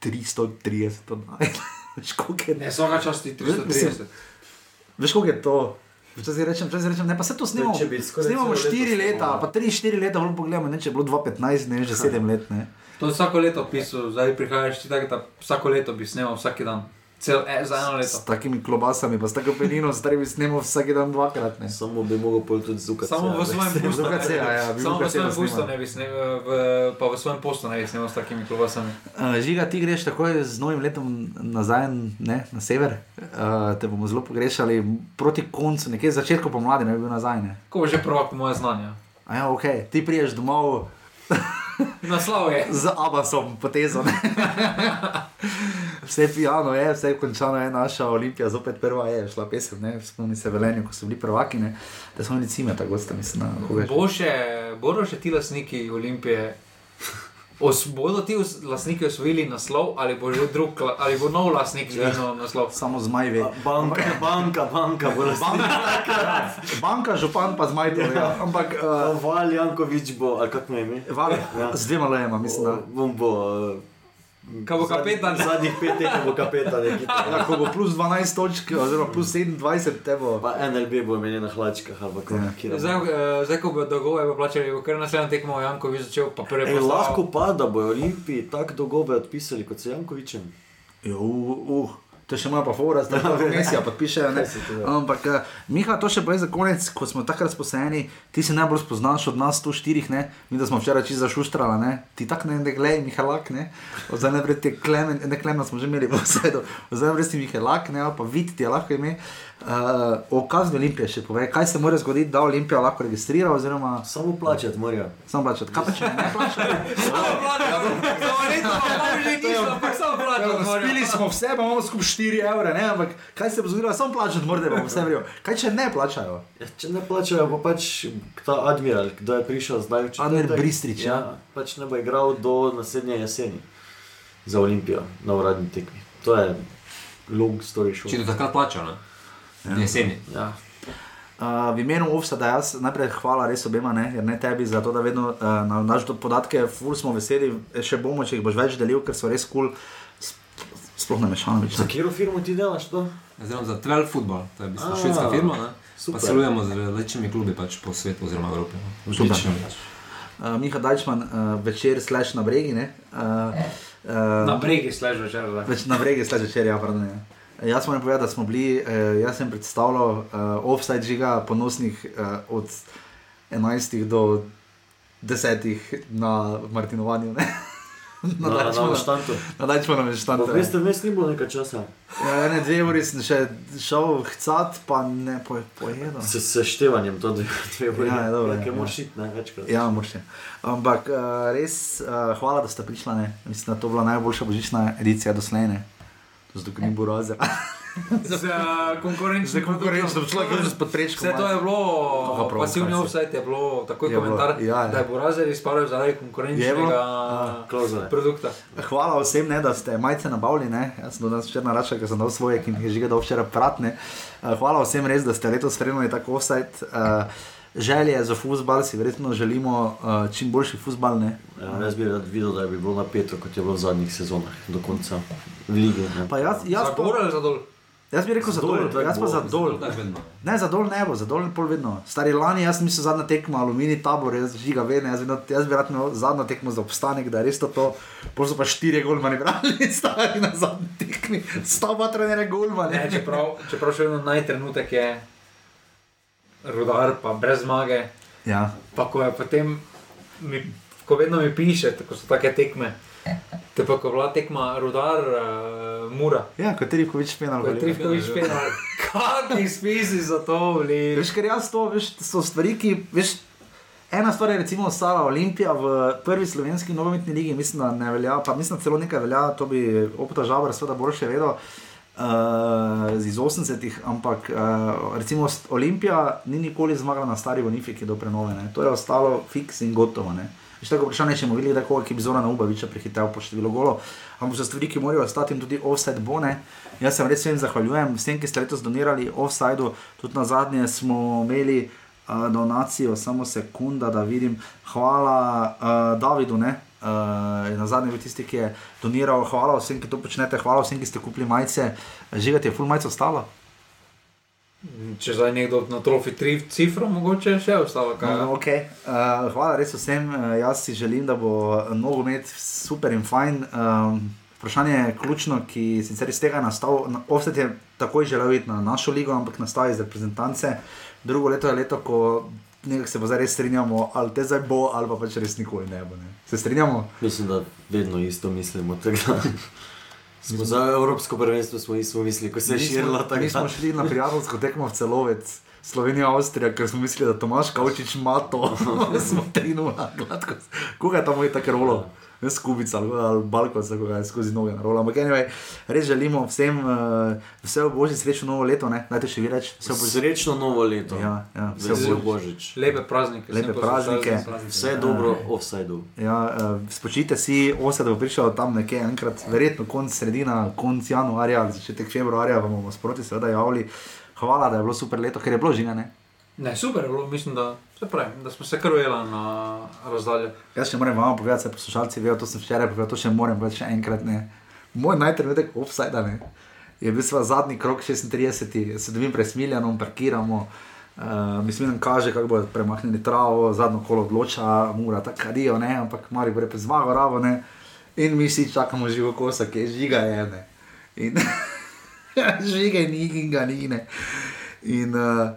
Speaker 1: 330, oddaje. veš, koliko je
Speaker 3: Ne, vsaka čas ti 330.
Speaker 1: Veš, kako je to? Včasih rečem, včasih rečem, ne pa se to snimamo.
Speaker 2: če bi skoraj
Speaker 1: Snimamo
Speaker 2: celo
Speaker 1: 4
Speaker 2: leto
Speaker 1: leta,
Speaker 2: snemali.
Speaker 1: pa 3-4 leta, bolj pogledamo, ne, če je bilo 2-15, ne, že 7 let. Ne.
Speaker 3: To vsako leto pisal, zdaj prihajaš ti tako, da vsako leto bi snemal, vsak dan. Cel, e, za eno leto.
Speaker 1: S takimi klobasami, pa s tako penino, zdaj bi snimal vsak dan dvakrat. Ne.
Speaker 2: Samo bi mogel pol tudi zukati.
Speaker 3: Samo v
Speaker 2: sebe.
Speaker 3: svojem pustu.
Speaker 1: Luka Cera, ja, bi
Speaker 3: Samo
Speaker 1: Luka
Speaker 3: v svojem
Speaker 1: Cera
Speaker 3: pustu
Speaker 1: snimal.
Speaker 3: ne bi snemal, v, pa v svojem postu ne bi snemal s takimi klobasami.
Speaker 1: Uh, žiga, ti greš takoj z novim letom nazaj ne, na sever, uh, te bomo zelo pogrešali proti koncu, nekje začetku pomladi, ne bi bil nazaj. Ne.
Speaker 3: Ko bo že prvak po moje znanje.
Speaker 1: A ja, ok, ti priješ domov.
Speaker 3: Naslov je.
Speaker 1: z abasom potezo. ne. vse pijano je, vse končano je naša olimpija, zopet prva je šla pesem, ne spomni se velenju, ko so bili prvaki, ne, da smo bili cime, tako da mislim, na koga.
Speaker 3: Bo še, bodo še ti lasniki Olimpije Os, bodo ti os- lastniki osvojili naslov, ali bo že drug, la- ali bo nov lastnik zvihnil naslov?
Speaker 1: Samo zmaj ve.
Speaker 2: Banka, banka, banka, bo lastnik.
Speaker 1: Banka, župan pa zmaj to ve. ja. Ampak uh,
Speaker 2: Val Jankovič bo, ali kako me ime?
Speaker 1: val, z dvema lojema, mislim. Da.
Speaker 2: Bom bo. eh,
Speaker 3: Kaj bo kapetan?
Speaker 2: Zadnjih zadnjih pet tekem bo kapetan ekipa.
Speaker 1: Ja, ko bo plus 12 točk, oziroma plus 27, te bo.
Speaker 2: Pa NLB bo imel na hlačkah ali pa
Speaker 1: Ja.
Speaker 2: kje
Speaker 3: Zdaj, eh, zdaj, ko bo dolgove pa plačali, bo kar naslednji tekmo Jankovič začel, pa prvi
Speaker 2: Ej, lahko pa, da bojo Olimpiji tako dolgobe odpisali kot se Jankovičem.
Speaker 1: Jo, uh, to je še moja pafora, zdaj pa mesija podpišejo. ne. Ampak, eh, Miha, to še boje za konec, ko smo takrat spozajeni, ti si najbolj spoznaš od nas tu štirih, ne? mi da smo včeraj čisto zašuštrali, ne? ti tak ne, ne glej, Mihalak, ne, Od zdaj najprej te klemen, ne klemen smo že imeli v sredo, Od zdaj najprej si Mihalak, ne, ali pa vid ti je lahko ime. Uh, o kazni Olimpije še povej, kaj se mora zgoditi, da Olimpija lahko registrira oziroma
Speaker 2: Samo plačati morajo.
Speaker 1: sam plačati. Kaj pa če ne plačajo?
Speaker 3: Samo plačal, verjetno pa že nismo, ampak samo plačal.
Speaker 1: Spili smo vse, pa imamo skupaj 4 evre, ne? ampak kaj se bo zgodilo, samo plačati morda bomo vse vrijo. Kaj če ne plačajo?
Speaker 2: Ja, če ne plačajo, pa pač ta admiral, kdo je prišel zdaj v četrtek.
Speaker 1: Admiral Bristrič, ja.
Speaker 2: Ja, pač ne bo igral do naslednje jeseni za Olimpijo na uradni tekmi. To je long story
Speaker 4: Če
Speaker 2: short.
Speaker 4: do takrat plača, ne? Ja. Jeseni.
Speaker 2: Ja.
Speaker 1: Uh, v imenu Ovsada, jaz najprej hvala res obema, ne, jer ne tebi za to, da vedno uh, nam daš do podatke, ful smo veseli, E, še bomo, če jih boš več delil, ker so res kul. Cool. Sploh ne mešano več.
Speaker 2: Za katero firmo ti delaš to?
Speaker 4: Oziroma za 12 futbol, to je v bistvu
Speaker 2: A,
Speaker 4: švedska firma. ne. Pa
Speaker 2: super.
Speaker 4: sodelujemo z različnimi klubi pač po svetu, oziroma Evropi. no.
Speaker 1: Super.
Speaker 4: Odlično.
Speaker 1: Uh, Miha Dajčman, uh, večer slash na bregi, ne? Uh, uh,
Speaker 3: Na bregi sležeš, že zdaj.
Speaker 1: Več na bregi ste večer, ja, pardon. Ja. Jaz moram povedati, da smo bili, eh, jaz sem predstavljal eh, offside žiga ponosnih eh, od 11 do 10 na Martinovanju. ne. na
Speaker 2: Na, na, na, na
Speaker 1: Dajčmanu.
Speaker 2: štantu.
Speaker 1: Na Dajčmanu je štante.
Speaker 2: Veste, vmes ni bilo nekaj časa.
Speaker 1: Ja, ne, dve uri sem še šel hcat, pa ne po, pojedel.
Speaker 2: S seštevanjem to dve, dve bolje.
Speaker 1: Ja, je dobro,
Speaker 2: Nekaj
Speaker 1: ja.
Speaker 2: moraš iti, ne večkrat.
Speaker 1: Ja, moče. Ampak eh, res eh, hvala, da ste prišli. ne. Mislim, da je to bila najboljša božična edicija doslej. ne. Zato, ker ni bilo razera.
Speaker 3: Za konkurenčno.
Speaker 1: Zdaj, kako rečem, da bi človek že s podprečkom.
Speaker 3: Vse to je bilo,
Speaker 1: Koga prav,
Speaker 3: pasivni
Speaker 1: kaj se-
Speaker 3: offset je bilo, takoj
Speaker 1: Je bilo,
Speaker 3: komentar,
Speaker 1: ja, ja.
Speaker 3: da je Borazer izpadel zaradi
Speaker 1: Je bilo?
Speaker 3: konkurenčnega
Speaker 1: Ja,
Speaker 2: klauzule.
Speaker 3: produkta.
Speaker 1: Hvala vsem, ne, da ste majice nabavili. Ne. Jaz sem danes včeraj račal, ker sem dal svoje, ki mi je že ga dal včeraj pratne. Eh, Hvala vsem res, da ste letos spremljali tako offside. eh, Želje za fusbal si verjetno želimo eh, čim boljši fusbal. Ne.
Speaker 2: Ja, jaz bi rad videl, da bi bilo napeto, kot je bilo v zadnjih sezonah, do konca lige. ne.
Speaker 1: Pa jaz, jaz,
Speaker 3: Za
Speaker 1: pa,
Speaker 3: gor ali za dol?
Speaker 1: jaz bi rekel za
Speaker 2: Zadol,
Speaker 1: dol,
Speaker 2: tako
Speaker 1: jaz pa
Speaker 2: bo.
Speaker 1: za dol.
Speaker 4: Tako je vedno.
Speaker 1: Ne, za dol ne bo, za dol je pol vedno. Stari lani, jaz mislim, zadnja tekma, aluminij tabor, jaz žiga vedno, jaz, vedno, jaz bi rad imel zadnjo tekmo za obstanek, da je res to to. Pol so pa štirje golmani brali, stari na zadnji tekmi, stavba trenere
Speaker 3: Ne,
Speaker 1: golmane.
Speaker 3: čeprav, čeprav še vedno najtrenutek je rudar, pa brez zmage.
Speaker 1: Ja.
Speaker 3: Pa ko je potem, mi, ko vedno mi piše, ko so take tekme, te pa ko je bila tekma rudar, uh, mura.
Speaker 1: Ja, kot Rivkovič penal.
Speaker 3: Ko je
Speaker 1: golira.
Speaker 3: Trifkovič
Speaker 1: ja.
Speaker 3: penal, kakšni spisi za to, bili.
Speaker 1: Veš, ker jaz to, veš, so stvari, ki, veš, ena stvar je recimo ostala Olimpija v prvi slovenski nogometni ligi, mislim, da ne velja, pa mislim, da celo nekaj velja, to bi optažal, seveda boljše vedel. Uh, iz 80-ih, ampak uh, recimo s- Olimpija ni nikoli zmagala na stari Bonifiki do prenove, ne. to je ostalo fiks in gotovo. Ne. Še tako vprašanje, če bomo videli nekoga, ki bi Zorana Ubaviča prehitel po številu golov, ampak so stvari, ki morajo ostati in tudi offside bone. Jaz se res vsem zahvaljujem, vsem, ki ste letos donirali offside, tudi na zadnje smo imeli uh, donacijo, samo sekunda, da vidim. Hvala uh, Davidu, ne. Uh, na zadnji bil tisti, ki je doniral, hvala vsem, ki to počnete, hvala vsem, ki ste kupili majice. Živeti je full majica ostala.
Speaker 3: Če zdaj nekdo na trofi tri cifra, mogoče še ostalo kaj. ja.
Speaker 1: No, okay. uh, hvala res vsem, uh, jaz si želim, da bo eh, nogomet super in fajn. Um, vprašanje je ključno, ki sicer iz tega je nastal. Offset je takoj želel iti na našo ligo, ampak nastal je iz reprezentance. Drugo leto je leto, ko nekako se pa zdaj res strinjamo, ali te zdaj bo, ali pa pač res nikoli ne bo. Ne. Se strinjamo?
Speaker 2: Mislim, da vedno isto mislimo. tako da Smo za evropsko prvenstvo smo isto mislili, ko se je
Speaker 1: Mi smo-
Speaker 2: širilo tako.
Speaker 1: Mi smo šli na prijateljsko tekmo v celovec. Slovenija, Avstrija, ker smo mislili, da Tomaš Kavčič ima to, smo 3-0, gladko. Koga je tam moj tak rolo? Ne skubica ali, ali balkon, kako je skozi noge na rolo. Ampak anyway, res želimo vsem, uh, vse božje srečno novo leto, ne? Dajte še vi reči, vse božje.
Speaker 2: Srečno novo leto.
Speaker 1: Ja, ja, vse
Speaker 2: vse
Speaker 1: bo-
Speaker 2: božič.
Speaker 3: Lepe praznike.
Speaker 1: Lepe
Speaker 3: vsem
Speaker 1: praznike.
Speaker 3: poslušalcem praznike. ja.
Speaker 2: Vse je dobro, offsajdu.
Speaker 1: Ja, uh, spočite si, osem bo prišel tam nekje enkrat, verjetno konc sredina, konc januarja ali začetek februarja, vam bomo sproti seveda javili. Hvala, da je bilo super leto, ker je bilo žigane.
Speaker 3: Ne, super je bilo, mislim, da, se pravi, da smo se krvela na razdalje.
Speaker 1: Jaz še moram vam povedati, se poslušalci vejo, to sem včeraj povedal, to še moram povedati še enkrat. Ne. Moj najtrenutek offsajda ne. je bil sva zadnji krok 36, se dobim presmiljanom, parkiramo. Uh, mislim, da kaže, kako bodo premahnili travo, zadnjo kolo odloča, mora tako kadijo, ne, ampak mari gre pa zmago, ravo ne. In mi vsi čakamo živo kosa, ki je žiga je ne. In žige ni, in ga ni ne. In uh,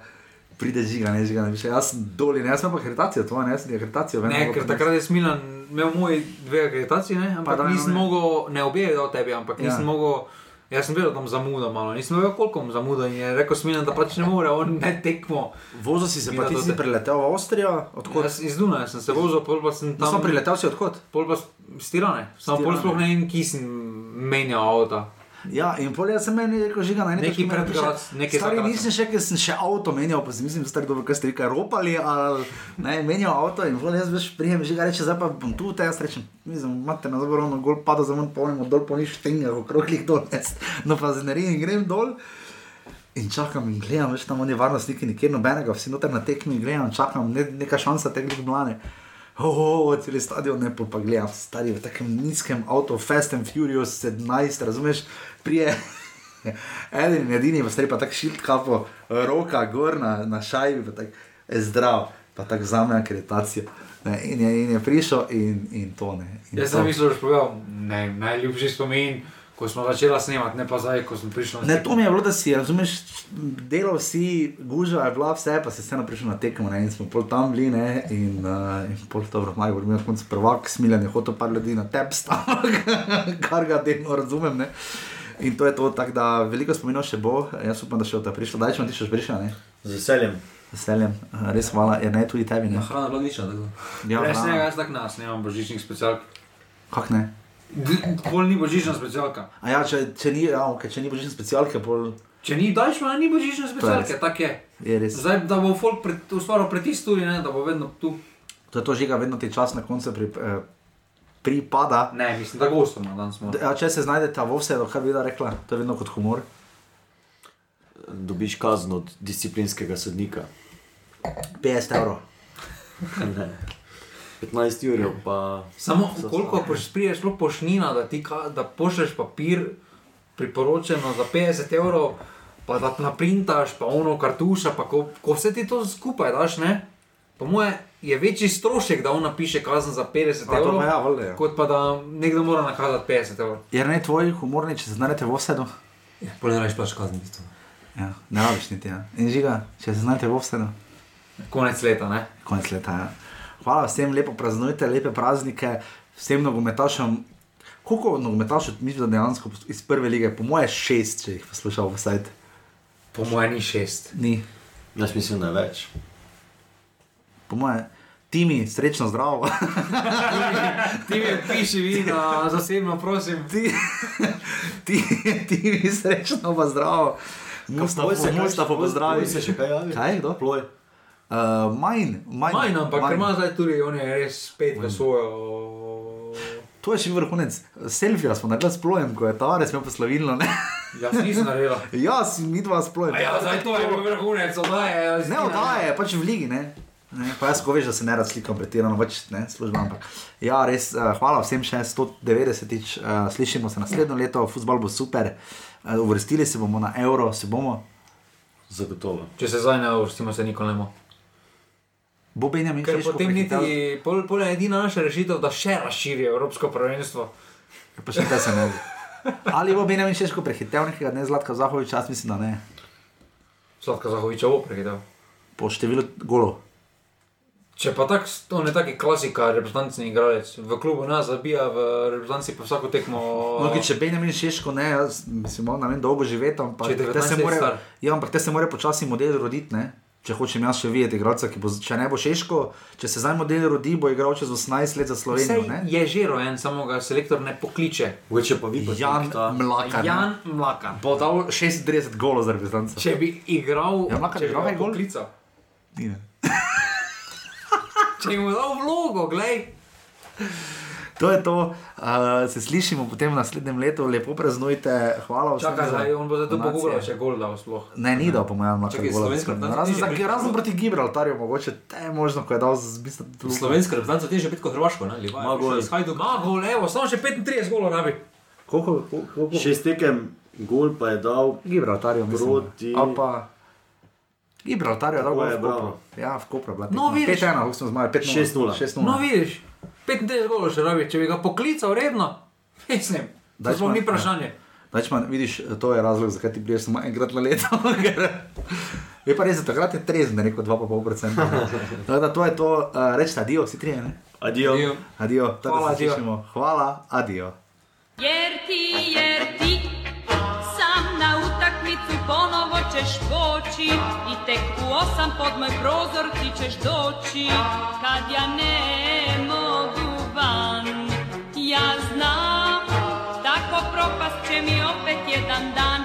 Speaker 1: pride žiga, ne žiga, ne piše. Jaz sem dolje, ne, jaz sem pa akreditacijo, to ne, jaz sem ti akreditacijo. vem,
Speaker 3: Ne,
Speaker 1: kako
Speaker 3: ker
Speaker 1: prinesem.
Speaker 3: takrat je Smilan imel moj dve akreditaciji, ne,
Speaker 1: Pa da
Speaker 3: ampak
Speaker 1: ne, ne.
Speaker 3: nisem mogel, ne obje dal tebi, ampak
Speaker 1: Ja.
Speaker 3: nisem mogel. Jaz sem vedel, da bom zamudil malo, nisem vedel, koliko bom zamudil. in Je rekel Smilan, da pač ne more, on ne tekmo.
Speaker 1: Vozil si se pa
Speaker 3: Ja,
Speaker 1: ti
Speaker 3: to
Speaker 1: si
Speaker 3: te-
Speaker 1: preletel v Avstrijo, odkot
Speaker 3: Jaz iz Dunaja sem se vozil, pol pa sem
Speaker 1: tam
Speaker 3: tam.
Speaker 1: si preletel, si odkot.
Speaker 3: Pol pa stirane, samo pol
Speaker 1: Stirane.
Speaker 3: sploh ne vem, ki sem menjal avta.
Speaker 1: Ja, in pol jaz sem meni rekel, žiga na
Speaker 3: Neki predgrad, neki
Speaker 1: stari.
Speaker 3: zagrad.
Speaker 1: Nisem še, ker sem še avto menjal, pa sem mislim, da ste dobro, ker ste vi kaj ropali, ali ne, menjal avto in pol jaz veš prijem, žiga reče, zdaj pa bom tu, te jaz rečem, mislim, imate na dobro, no gol pada za mnom, polnimo dol, polniš tenga, okroglih dol, jaz, no pa z nerim grem dol. In čakam in gledam, veš, tam oni varnostniki, nikjer nobenega, vsi noter na tekmi gledam, čakam, ne, neka šansa te gledane. Oh, oh, celi stadion ne pol pa gledam, stari v takem nizkem avtu, Fast and Furious 17, razumeš, prije. Eden in edini, pa stari pa tako šilt kapo, roka gor na, na šajbi, pa tako "E, zdrav, pa tako zame akreditacijo. Ne, in, je, in je prišel in, in to ne. In Ja,
Speaker 3: Jaz
Speaker 1: to.
Speaker 3: sem mislil, da boš povedal, ne, vem, najljubši spomin, ko smo začela snemati, ne pa zdaj, ko sem prišel na
Speaker 1: Ne, to mi je bilo, da si, razumeš, delal si, gužva je bila, vse pa si vseeno prišel na tekmo, ne, in smo pol tam bili, ne, in, uh, in pol dobro, maj, vrmi, na koncu prvak, smiljen je hotel par ljudi na tep stavek, kar ga delno razumem, ne. In to je to, tako da veliko spominov še bo, jaz upam, da še bo ta prišla, daj, če vam ti še boš prišla, ne,
Speaker 2: Z veseljem.
Speaker 1: Z veseljem, Eh, res hvala, je ne, tudi tebi, ne.
Speaker 4: Hrana je bila nična, tako.
Speaker 1: Ja,
Speaker 3: Res ne,
Speaker 1: hvala.
Speaker 3: jaz tak nas, nemam božičnih specialk.
Speaker 1: Kak ne?
Speaker 3: D- Pol ni božična specialka.
Speaker 1: A ja, če, če ni, ja, okay, če ni božične specialke, pol
Speaker 3: Če ni daš, ima ni božične specialke,
Speaker 1: res.
Speaker 3: tako je.
Speaker 1: je res.
Speaker 3: Zdaj, da bo folk pred, ustvaril pritisk tudi, ne, da bo vedno tu.
Speaker 1: To je to žiga, vedno ti čas na koncu pri, eh, pripada.
Speaker 3: Ne, mislim, da gostom na dan smo.
Speaker 1: D- A če se znajdete v vse, kaj bi da rekla, to je vedno kot humor.
Speaker 2: Dobiš kazen od disciplinskega sodnika.
Speaker 1: 50 evrov.
Speaker 2: Ne. 15 ur, pa
Speaker 3: Samo koliko priješ, sploh pošnina, da, ti, ka- da pošleš papir, priporočeno za 50 evrov, pa da naprintaš, pa ono kartuša, pa ko, ko vse ti to skupaj daš, ne? Po moje je večji strošek, da on napiše kazen za 50
Speaker 1: A to
Speaker 3: evrov,
Speaker 1: pa ja, valjda, ja.
Speaker 3: kot pa da nekdo mora nakazati 50 evrov.
Speaker 1: Jer ne tvoji humorni, če se znajdete v vse,
Speaker 4: Ja, Pol ne rabiš plač kazni, v bistvu.
Speaker 1: ja, ne rabiš niti. Ja. In žiga, če se znajdete v vse,
Speaker 3: Konec leta, ne?
Speaker 1: konec leta. Ja. Hvala vsem, lepo praznujte, lepe praznike, vsem nogometašem. Koliko nogometašev, mislim, da dejansko iz prve lige, po moje šest, če jih poslušal, vsaj
Speaker 3: Po moje ni šest.
Speaker 1: ni.
Speaker 2: jaz mislim, da je več.
Speaker 1: Po moje, timi, srečno zdravo.
Speaker 3: Ti mi piši, vi na zasebno, prosim.
Speaker 1: ti, ti, ti mi srečno pa zdravo. Mustafa, Mustafa, pozdravi.
Speaker 2: Se še kaj javi?
Speaker 1: Kaj, kdo?
Speaker 2: Ploj.
Speaker 1: Uh, manj, manj.
Speaker 3: Majn, ampak ker
Speaker 1: manj.
Speaker 3: ima zdaj tudi, on je res spet v svojo.
Speaker 1: To je še vrhunec. Selfija smo naredili s plojem, ko je Tavares imel poslovilno. ne.
Speaker 3: Jaz nisem naredila.
Speaker 1: ja, si- mi dva s plojem.
Speaker 3: A Ja, zdaj to je bil vrhunec, oddaje.
Speaker 1: Ne oddaje, pač v ligi. Ne? Ne, pa jaz, ko veš, da se ne razlikam pretirano, pač ne služba. Ampak ja, res uh, hvala vsem še 190-tič, uh, slišimo se naslednjo leto, futbol bo super, uh, uvrstili se bomo na evro, se bomo.
Speaker 2: Zagotovo.
Speaker 3: Če se zdaj ne uvrstimo, se nikoli ne bomo.
Speaker 1: Bo Benjamin
Speaker 3: Ker
Speaker 1: Šeško
Speaker 3: potem
Speaker 1: prehitel?
Speaker 3: niti, pol, pol je edina naša rešitev, da še razširi Evropsko prvenstvo.
Speaker 1: Pa še te se ne ve. Ali bo Benjamin Šeško prehitel nekega dne Zlatka Zahoviča, jaz mislim, da ne.
Speaker 3: Sladka Zahoviča bo prehitel.
Speaker 1: Po številu golov.
Speaker 3: Če pa tak, on je taki klasika, reprezentancni igralec, v klubu nas zabija, v reprezentanci pa vsako tekmo.
Speaker 1: No, ki če Benjamin Šeško ne, jaz mislim, on namen dolgo živeti, ampak
Speaker 3: Če je
Speaker 1: te se
Speaker 3: 19 let
Speaker 1: more,
Speaker 3: star.
Speaker 1: ja, ampak te se more počasi model roditi, ne. Če hočem jaz še videti igralca, ki bo, z- če ne bo Šeško, če se zdaj model rodi, bo igral čez 18 let za
Speaker 3: Sej
Speaker 1: Slovenijo. Ne?
Speaker 3: je že rojen, samo ga selektor ne pokliče.
Speaker 2: Mogoče pa vi pa
Speaker 1: Jan Mlaka.
Speaker 3: Jan Mlaka.
Speaker 1: Bo dal 36 golov za reprezentanco.
Speaker 3: Če bi igral,
Speaker 1: Ja, Mlakar je
Speaker 3: če bi
Speaker 1: igral
Speaker 3: ga
Speaker 1: kaj gol?
Speaker 3: poklical.
Speaker 1: Ni, ne.
Speaker 3: Če bi mu dal vlogo, glej.
Speaker 1: To je to, uh, se slišimo potem v naslednjem letu, lepo praznujte, hvala vsem.
Speaker 3: Čakaj,
Speaker 1: za
Speaker 3: zdaj on bo zato
Speaker 1: donacije.
Speaker 3: pogubral, če gol dal sploh.
Speaker 1: Ne, ni dal, po mojem, na
Speaker 4: Čakaj, slovenska reprezentanca
Speaker 1: Razen,
Speaker 4: ni
Speaker 1: za-
Speaker 4: že bila.
Speaker 1: razen proti Gibraltarju, mogoče te je možno, ko je dal z bistvom tudi
Speaker 4: Slovenska reprezentanca teže biti kot Hrvaško, ne? Livaja,
Speaker 2: Ma gol.
Speaker 4: Kaj do
Speaker 3: Ma gol, evo, samo še 35 golov rabi.
Speaker 1: Koliko, koliko, koliko?
Speaker 2: Šest tekem, gol pa je dal.
Speaker 1: Gibraltarju, mislim.
Speaker 2: Proti-
Speaker 1: Ali pa Gibraltarju, da
Speaker 2: Tako
Speaker 1: bo
Speaker 2: je,
Speaker 1: v Kopru.
Speaker 2: bravo.
Speaker 1: Ja, v Kopru je bila.
Speaker 3: No,
Speaker 1: tekma.
Speaker 3: vidiš.
Speaker 1: 5-1, kako smo zmagali, 5-0.
Speaker 2: 6:0.
Speaker 1: 6-0.
Speaker 3: No, vidiš, 35 golov še rabi, če bi ga poklical redno, mislim, da
Speaker 1: Daj,
Speaker 3: sploh
Speaker 1: Šmark,
Speaker 3: ni
Speaker 1: ja.
Speaker 3: vprašanje.
Speaker 1: Dačman, vidiš, to je razlog, zakaj ti priješ samo enkrat na leto. ker- Je pa res, da takrat je trezen, da je rekel 2,5%. Tako da to je to, uh, rečete, adijo, vsi trije, ne?
Speaker 2: Adijo.
Speaker 4: Adijo.
Speaker 1: Adijo, tako da
Speaker 3: Hvala,
Speaker 1: se
Speaker 3: adijo.
Speaker 1: slišimo. Hvala, adijo.
Speaker 5: Jer ti, jer ti Sam na utakmicu ponovo ćeš poći I tek u osam pod moj prozor ti ćeš doći Kad ja ne mogu van Ja znam, tako propast će mi opet jedan dan